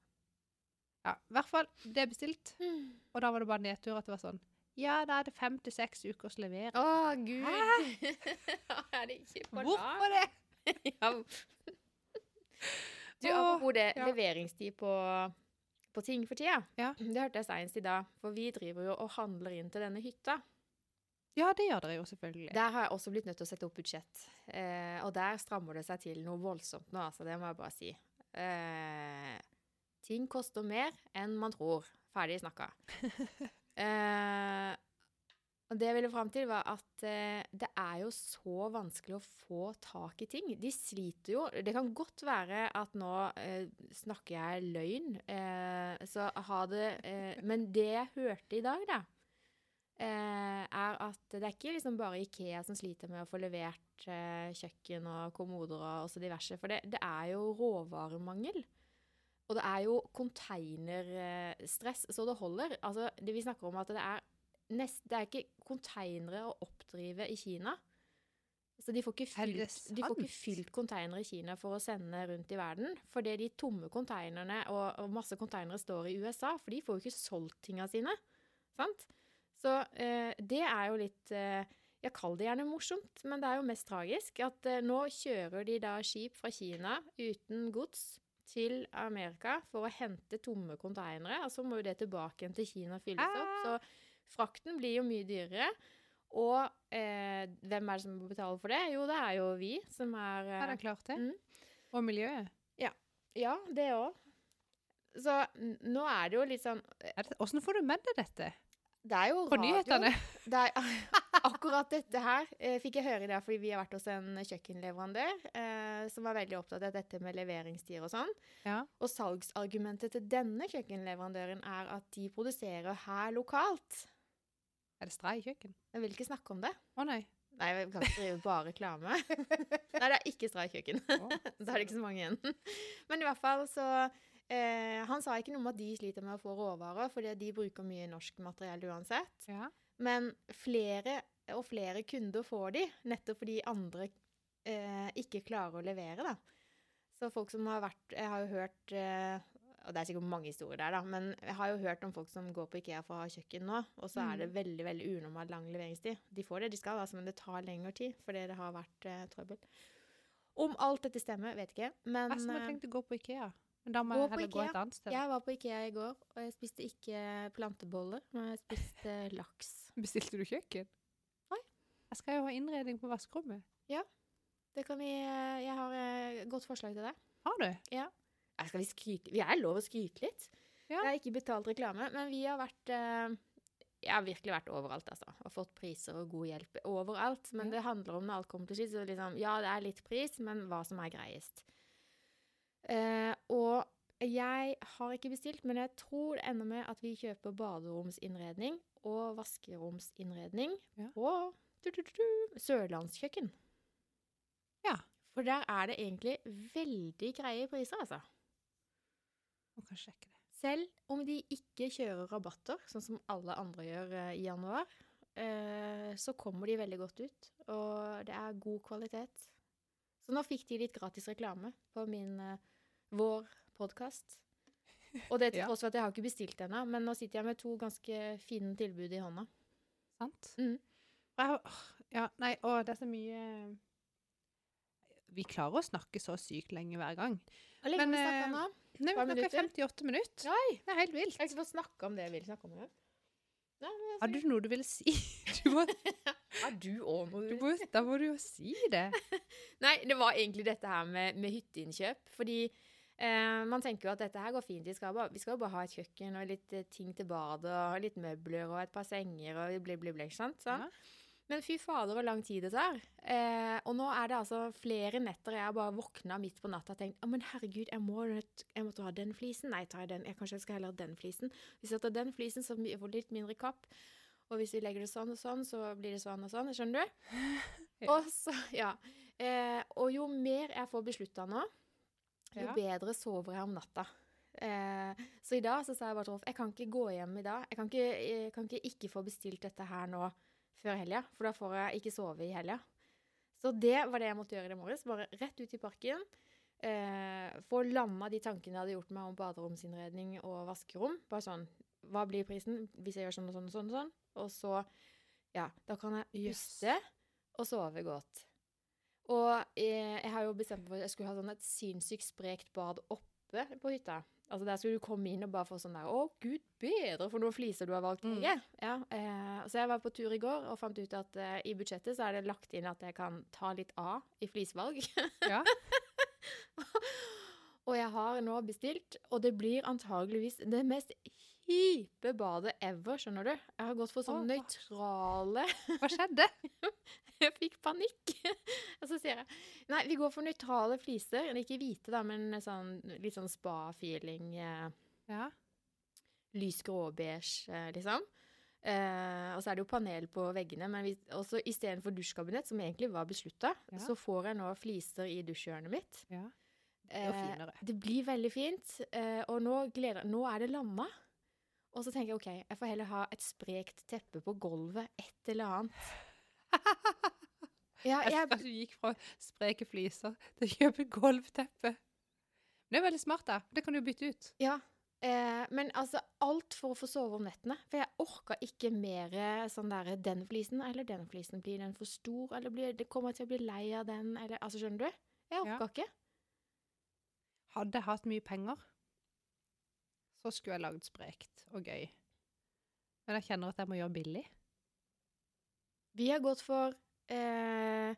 S1: Ja, i hvert fall, det er bestilt.
S2: Hmm.
S1: Og da var det bare nedtur at det var sånn. Ja, da er det fem til seks ukers levering.
S2: Å, gud! er det ikke på dag?
S1: det?
S2: Ja. Du, apropos det,
S1: ja.
S2: leveringstid på på ting for tida.
S1: Ja.
S2: Det hørte jeg senest i dag, for vi driver jo og handler inn til denne hytta.
S1: Ja, det gjør dere jo selvfølgelig.
S2: Der har jeg også blitt nødt til å sette opp budsjett. Eh, og der strammer det seg til noe voldsomt nå, altså. Det må jeg bare si. Eh, ting koster mer enn man tror. Ferdig snakka. Eh, og det jeg ville fram til, var at eh, det er jo så vanskelig å få tak i ting. De sliter jo. Det kan godt være at nå eh, snakker jeg løgn, eh, så ha det eh, Men det jeg hørte i dag, da, eh, er at det er ikke liksom bare Ikea som sliter med å få levert eh, kjøkken og kommoder og også diverse. For det, det er jo råvaremangel. Og det er jo konteinerstress så det holder. Altså, det vi snakker om at det er, nest, det er ikke konteinere å oppdrive i Kina. Så de får, ikke
S1: Er det
S2: fylt, de får ikke
S1: sant?
S2: fylt konteinere i Kina for å sende rundt i verden. Fordi de tomme konteinerne og, og masse konteinere står i USA, for de får jo ikke solgt tinga sine. Sant? Så eh, det er jo litt eh, Jeg kaller det gjerne morsomt, men det er jo mest tragisk at eh, nå kjører de da skip fra Kina uten gods til Amerika for å hente tomme konteinere, og så må jo det tilbake igjen til Kina og fylles
S1: Ah.
S2: opp. Så frakten blir jo mye dyrere. Og eh, hvem er det som må betale for det? Jo, det er jo vi som er
S1: Har
S2: eh,
S1: dere klart det?
S2: Mm. Eh.
S1: Og miljøet?
S2: Ja, det òg. Så n- nå er det jo litt sånn
S1: Er det, hvordan får du med deg dette?
S2: Det er jo
S1: På
S2: radio.
S1: nyhetene?
S2: Det er, akkurat dette her eh, fikk jeg høre i dag fordi vi har vært hos en kjøkkenleverandør eh, som var veldig opptatt av dette med leveringstider og sånn.
S1: Ja.
S2: Og salgsargumentet til denne kjøkkenleverandøren er at de produserer her lokalt.
S1: Er det strai i kjøkken?
S2: Jeg vil ikke snakke om det.
S1: Å nei.
S2: Nei, vi kan ikke drive bare reklame. Nei, det er ikke Stray kjøkken.
S1: Å.
S2: Da er det ikke så mange igjen. Men i hvert fall så eh, Han sa ikke noe om at de sliter med å få råvarer, fordi de bruker mye norsk materiell uansett.
S1: Ja.
S2: Men flere og flere kunder får de, nettopp fordi andre eh, ikke klarer å levere, da. Så folk som har vært Jeg har jo hørt eh, Og det er sikkert mange historier der, da, men jeg har jo hørt om folk som går på Ikea for å ha kjøkken nå, og så er det veldig veldig unormalt lang leveringstid. De får det de skal, altså, men det tar lengre tid fordi det har vært eh, trøbbel. Om alt dette stemmer, vet ikke, men
S1: Jeg som har
S2: eh,
S1: tenkt å gå på Ikea. Men da må
S2: Gå
S1: jeg
S2: på
S1: heller gå
S2: Ikea.
S1: et annet sted.
S2: jeg var på Ikea i går, og jeg spiste ikke planteboller, men jeg spiste laks.
S1: Bestilte du kjøkken?
S2: Nei.
S1: Jeg skal jo ha innredning på vaskerommet.
S2: Det kan vi, eh, jeg har et godt forslag til deg.
S1: Har du?
S2: Nei, Skal vi skryte? Vi er lov å skryte litt.
S1: Ja.
S2: Det er ikke betalt reklame, men vi har vært eh, Jeg har virkelig vært overalt, altså. Og fått priser og god hjelp overalt. Men
S1: Ja.
S2: det handler om når alt kommer til skitt, så liksom Ja, det er litt pris, men hva som er greiest. Eh, og jeg har ikke bestilt, men jeg tror det ender med at vi kjøper baderomsinnredning og vaskeromsinnredning
S1: Ja.
S2: på du, du, du, du, Sørlandskjøkken.
S1: Ja.
S2: For der er det egentlig veldig greie priser, altså.
S1: Må kanskje sjekke det.
S2: Selv om de ikke kjører rabatter, sånn som alle andre gjør eh, i januar, eh, så kommer de veldig godt ut, og det er god kvalitet. Så nå fikk de litt gratis reklame på min eh, vår podkast. Og det til
S1: Ja.
S2: tross for at jeg har ikke bestilt ennå, men nå sitter jeg med to ganske fine tilbud i hånda.
S1: Sant?
S2: Mm.
S1: Og jeg har- åh, Ja, nei, å, det er så mye Vi klarer å snakke så sykt lenge hver gang.
S2: Hvor lenge
S1: Men,
S2: har vi snakka
S1: eh,
S2: nå?
S1: Nei,
S2: Par
S1: vi snakker
S2: minutter?
S1: 58 minutter.
S2: Oi!
S1: Det er helt vilt.
S2: Jeg har ikke fått snakke om det jeg vil snakke om. engang. Nei, men jeg
S1: Har du noe du ville si? Du må,
S2: Har du òg noe
S1: du må, da må du jo si det.
S2: Nei, det var egentlig dette her med, med hytteinnkjøp. Fordi eh, man tenker jo at dette her går fint. Vi skal, bare, vi skal jo bare ha et kjøkken og litt eh, ting til badet og litt møbler og et par senger og bli, bli, bli, ikke sant? Sånn.
S1: Ja.
S2: Men fy fader hvor lang tid det tar. Eh, og nå er det altså flere netter jeg har bare våkna midt på natta og tenkt «Å, men herregud, jeg må nødt- jeg måtte ha den flisen. Nei, tar jeg den. Jeg kanskje jeg skal heller ha den flisen. Hvis jeg tar den flisen, så blir det litt mindre kapp. Og hvis vi legger det sånn og sånn, så blir det sånn og sånn. Skjønner du?
S1: Ja.
S2: Og så, ja. Eh, og jo mer jeg får beslutta nå, jo
S1: Ja.
S2: bedre sover jeg om natta. Eh, så i dag så sa jeg bare til Rolf jeg kan ikke gå hjem i dag. Jeg kan ikke, jeg kan ikke ikke få bestilt dette her nå før helga, for da får jeg ikke sove i helga. Så det var det jeg måtte gjøre i det morges. Bare rett ut i parken. Eh, få landa de tankene jeg hadde gjort meg om baderomsinnredning og vaskerom. Bare sånn Hva blir prisen hvis jeg gjør sånn og sånn og sånn? Og sånn? Og så Ja, da kan jeg
S1: Jøss.
S2: puste og sove godt. Og eh, jeg har jo bestemt meg for at jeg skulle ha sånn et sinnssykt sprekt bad oppe på hytta. Altså Der skulle du komme inn og bare få sånn der Å, gud bedre for noen fliser du har valgt.
S1: Mm.
S2: Ja, ja. Eh, så jeg var på tur i går og fant ut at eh, i budsjettet så er det lagt inn at jeg kan ta litt av i flisvalg.
S1: Ja.
S2: og jeg har nå bestilt, og det blir antageligvis det mest kjipe badet ever, skjønner du. Jeg har gått for sånn
S1: Å, hva?
S2: nøytrale
S1: Hva skjedde?
S2: Jeg fikk panikk. Og så sier jeg Nei, vi går for nøytrale fliser. Ikke hvite, da, men sånn, litt sånn spa-feeling. Eh,
S1: Ja.
S2: lys gråbeige, eh, liksom. Eh, og så er det jo panel på veggene, men vi, også istedenfor dusjkabinett, som egentlig var beslutta,
S1: Ja.
S2: så får jeg nå fliser i dusjhjørnet mitt.
S1: ja. er jo
S2: Eh,
S1: finere.
S2: det blir veldig fint, eh, og nå, gleder, nå er det landa. Og så tenker jeg ok, jeg får heller ha et sprekt teppe på gulvet, et eller annet. Ja,
S1: Jeg
S2: jeg,
S1: elsker at du gikk fra spreke fliser til å kjøpe gulvteppe. Men Det er veldig smart, da. Det kan du jo bytte ut.
S2: Ja. Eh, men altså, alt for å få sove om nettene. For jeg orka ikke mer eh, sånn derre Den flisen eller den flisen. Blir den for stor, eller blir, det kommer jeg til å bli lei av den, eller Altså, skjønner du? Jeg
S1: Ja.
S2: orka ikke.
S1: Hadde jeg hatt mye penger, så skulle jeg lagd sprekt og gøy. Men jeg kjenner at jeg må gjøre billig.
S2: Vi har gått for eh,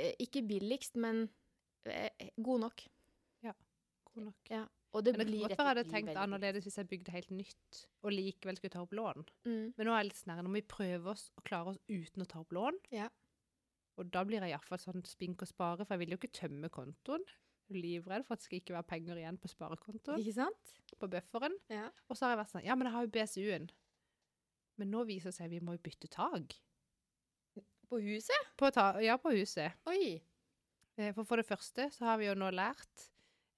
S2: eh, Ikke billigst, men eh, god nok.
S1: God nok.
S2: Ja, Og det,
S1: Men det kan
S2: blir
S1: godt
S2: dette
S1: være jeg hadde
S2: blir
S1: tenkt
S2: veldig-
S1: annerledes hvis jeg bygde helt nytt og likevel skulle ta opp lån.
S2: Mm.
S1: Men nå er jeg litt snarere. Nå må vi prøve oss og klare oss uten å ta opp lån.
S2: Ja.
S1: Og da blir jeg iallfall sånn spink og spare, for jeg vil jo ikke tømme kontoen. Jeg er Livredd for at det skal ikke være penger igjen på sparekontoen,
S2: Ikke sant?
S1: på bufferen.
S2: Ja.
S1: Og så har jeg vært sånn Ja, men jeg har jo BSU-en. Men nå viser det seg vi må jo bytte tak.
S2: På huset?
S1: På ta ja, på huset.
S2: Oi.
S1: Eh, For for det første så har vi jo nå lært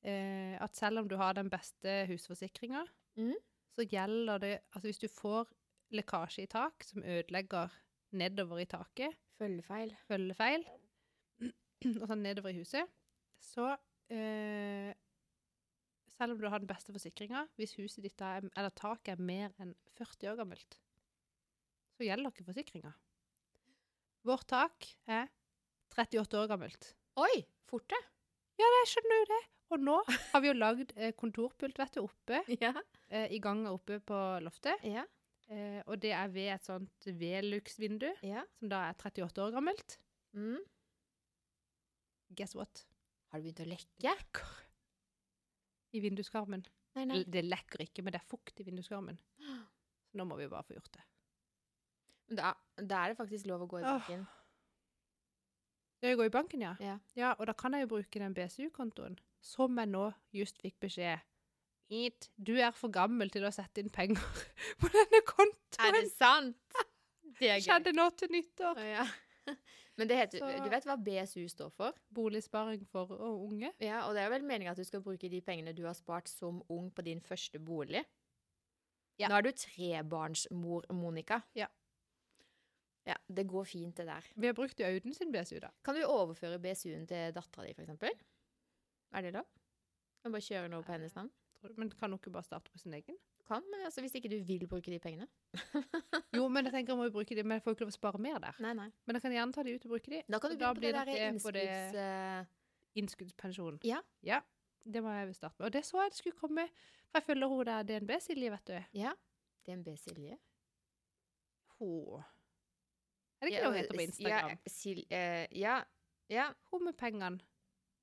S1: eh, at selv om du har den beste husforsikringa,
S2: Mhm.
S1: så gjelder det Altså hvis du får lekkasje i tak som ødelegger nedover i taket,
S2: Følgefeil.
S1: følgefeil, og sånn nedover i huset, så eh, selv om du har den beste forsikringa, hvis huset ditt da er, eller taket er mer enn 40 år gammelt, så gjelder ikke forsikringa. Vårt tak er 38 år gammelt.
S2: Oi! Forte.
S1: Ja, det skjønner jo det. Og nå har vi jo lagd eh, kontorpult vet du, oppe
S2: Ja.
S1: eh, i gangen oppe på loftet.
S2: Ja.
S1: Eh, og det er ved et sånt velux-vindu,
S2: ja.
S1: som da er 38 år gammelt.
S2: Mm.
S1: Guess what?
S2: Har du begynt å lekke?
S1: I vinduskarmen.
S2: Nei, nei.
S1: Eller, Det lekker ikke, men det er fukt i vinduskarmen. Så nå må vi bare få gjort det.
S2: Da, da er det faktisk lov å gå i
S1: Åh.
S2: banken.
S1: Jeg går i banken, ja.
S2: Ja.
S1: og da kan jeg jo bruke den BSU-kontoen, som jeg nå just fikk beskjed. It, du er for gammel til å sette inn penger på denne
S2: Er det
S1: kontoen.
S2: sant? Det
S1: Det
S2: er gøy.
S1: skjedde nå til nyttår.
S2: Å, Ja. Men det heter,
S1: Så-
S2: du vet hva BSU står for?
S1: Boligsparing for å, unge.
S2: Ja, Og det er vel meninga at du skal bruke de pengene du har spart som ung på din første bolig.
S1: Ja.
S2: Nå er du trebarnsmor, Monica.
S1: Ja.
S2: Ja, Det går fint, det der.
S1: Vi har brukt jo Audun sin BSU, da.
S2: Kan du overføre BSU-en til dattera di, f.eks.? Er det lov? Kan du bare kjøre den over på
S1: Eh.
S2: hennes navn?
S1: Tror du- Men kan hun ikke bare starte på sin egen?
S2: Kan, men altså, Hvis ikke du vil bruke de pengene.
S1: Jo, men jeg tenker jeg må jo bruke de, men jeg får jo ikke lov å spare mer der.
S2: Nei, nei.
S1: Men jeg kan gjerne ta de ut og bruke de.
S2: Da
S1: Så
S2: kan du begynne på det
S1: blir nok
S2: der
S1: på det
S2: innskudds... eh,
S1: innskuddspensjon.
S2: Ja.
S1: ja. Det må jeg vel starte med. Og det så jeg det skulle komme. For jeg følger hun der DNB, Silje, vet du.
S2: Ja. DNB Silje.
S1: Hun Er det ikke
S2: Ja,
S1: noe hun heter på
S2: s-
S1: Instagram?
S2: Ja, Sil eh, ja, ja.
S1: Hun med pengene.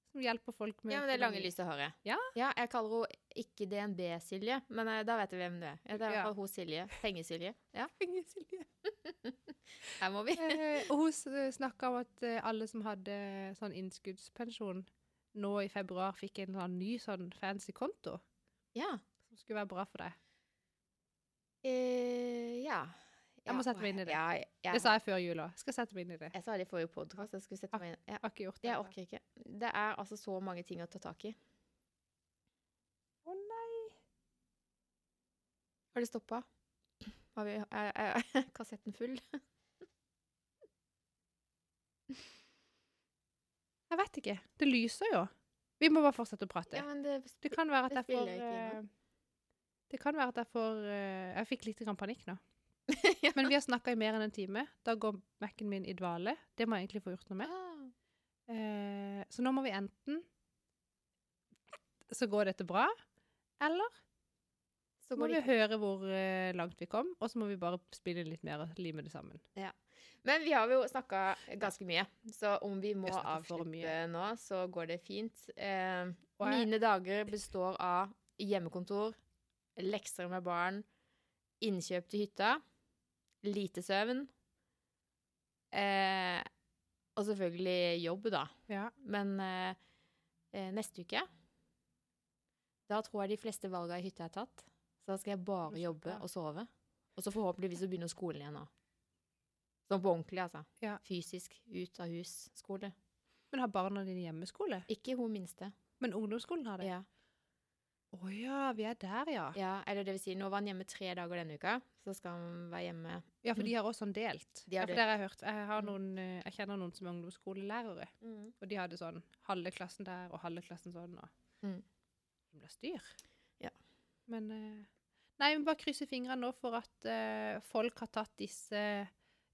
S1: Som hjelper folk med
S2: ja, men det er lange,
S1: økonomi.
S2: lyse håret.
S1: Ja.
S2: jeg kaller henne ikke DNB-Silje, men eh, da vet jeg hvem det er. Ja, Det er
S1: Ja.
S2: i hvert fall hun Silje. Penge-Silje. Ja,
S1: Penger, Silje.
S2: her må vi.
S1: Eh, og hun s- snakket om at eh, alle som hadde sånn innskuddspensjon nå i februar, fikk en sånn ny sånn fancy konto.
S2: Ja.
S1: som skulle være bra for deg.
S2: Eh, ja.
S1: Jeg må
S2: Ja,
S1: sette meg inn i det.
S2: Ja, jeg,
S1: Det sa jeg før jul òg. Skal sette meg inn i det.
S2: jeg sa det i forrige podkast. Jeg skulle sette meg inn ja.
S1: Har ikke gjort det.
S2: Jeg
S1: ennå.
S2: orker ikke. Det er altså så mange ting å ta tak i.
S1: Å nei.
S2: Har det stoppa? Har vi er, er kassetten full?
S1: Jeg vet ikke. Det lyser jo. Vi må bare fortsette å prate.
S2: Ja, men det
S1: Det kan være at
S2: det
S1: jeg får
S2: spiller jeg ikke
S1: eh, Det kan være at jeg får eh, Jeg fikk litt grann panikk nå. Men vi har snakka i mer enn en time. Da går Mac-en min i dvale. Det må jeg egentlig få gjort noe med.
S2: Ah.
S1: Eh, så nå må vi enten Så går dette bra, Eller
S2: Så
S1: må vi
S2: går det ikke.
S1: høre hvor eh, langt vi kom, og så må vi bare spille litt mer og lime det sammen.
S2: Men vi har jo snakka ganske mye, så om vi må
S1: Vi har snakket for
S2: avslutte
S1: mye.
S2: nå, så går det fint. Eh,
S1: Og jeg-
S2: mine dager består av hjemmekontor, lekser med barn, innkjøp til hytta, lite søvn eh, og selvfølgelig jobb, da.
S1: Ja.
S2: Men eh, eh, neste uke Da tror jeg de fleste valga i hytta er tatt. Så da skal jeg
S1: Men
S2: bare
S1: så
S2: jobbe
S1: bra.
S2: og sove. Og så forhåpentligvis så begynner skolen igjen nå. Sånn på ordentlig, altså.
S1: Ja.
S2: Fysisk ut av hus-skole.
S1: Men har barna dine hjemmeskole?
S2: Ikke hun minste.
S1: Men ungdomsskolen har det? Å ja.
S2: Ja.
S1: vi er der, ja.
S2: ja. Eller det vil si, nå var han hjemme tre dager denne uka, så skal han være hjemme
S1: Ja, for de har også sånn delt.
S2: De
S1: ja,
S2: har
S1: for
S2: delt.
S1: der har jeg hørt. Jeg, har
S2: Mm.
S1: noen, eh, jeg kjenner noen som er ungdomsskolelærere, og de hadde sånn halve klassen der og halve klassen sånn. Og
S2: Mm.
S1: det blir styr.
S2: Ja.
S1: Men eh, Nei, vi bare krysser fingrene nå for at eh, folk har tatt disse eh,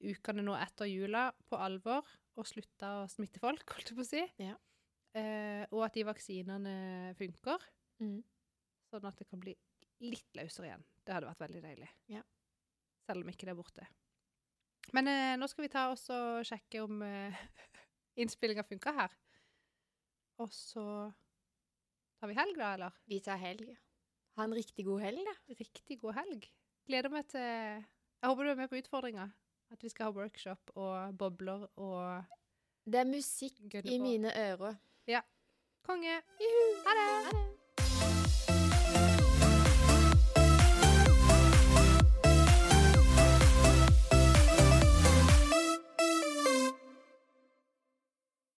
S1: ukene nå etter jula på alvor og slutta å smitte folk, holdt jeg på å si.
S2: Ja.
S1: Eh, og at de vaksinene funker,
S2: Mm.
S1: sånn at det kan bli litt løsere igjen. Det hadde vært veldig deilig.
S2: Ja.
S1: Selv om ikke det er borte. Men eh, nå skal vi ta oss og sjekke om eh, innspillinga funka her. Og så tar vi helg, da, eller?
S2: Vi tar helg. Ha en riktig god helg, da.
S1: Riktig god helg. Gleder meg til Jeg håper du er med på utfordringa. At vi skal ha workshop og bobler og
S2: Det er musikk
S1: gønne
S2: i
S1: på.
S2: mine ører.
S1: Konge!
S2: Ha det!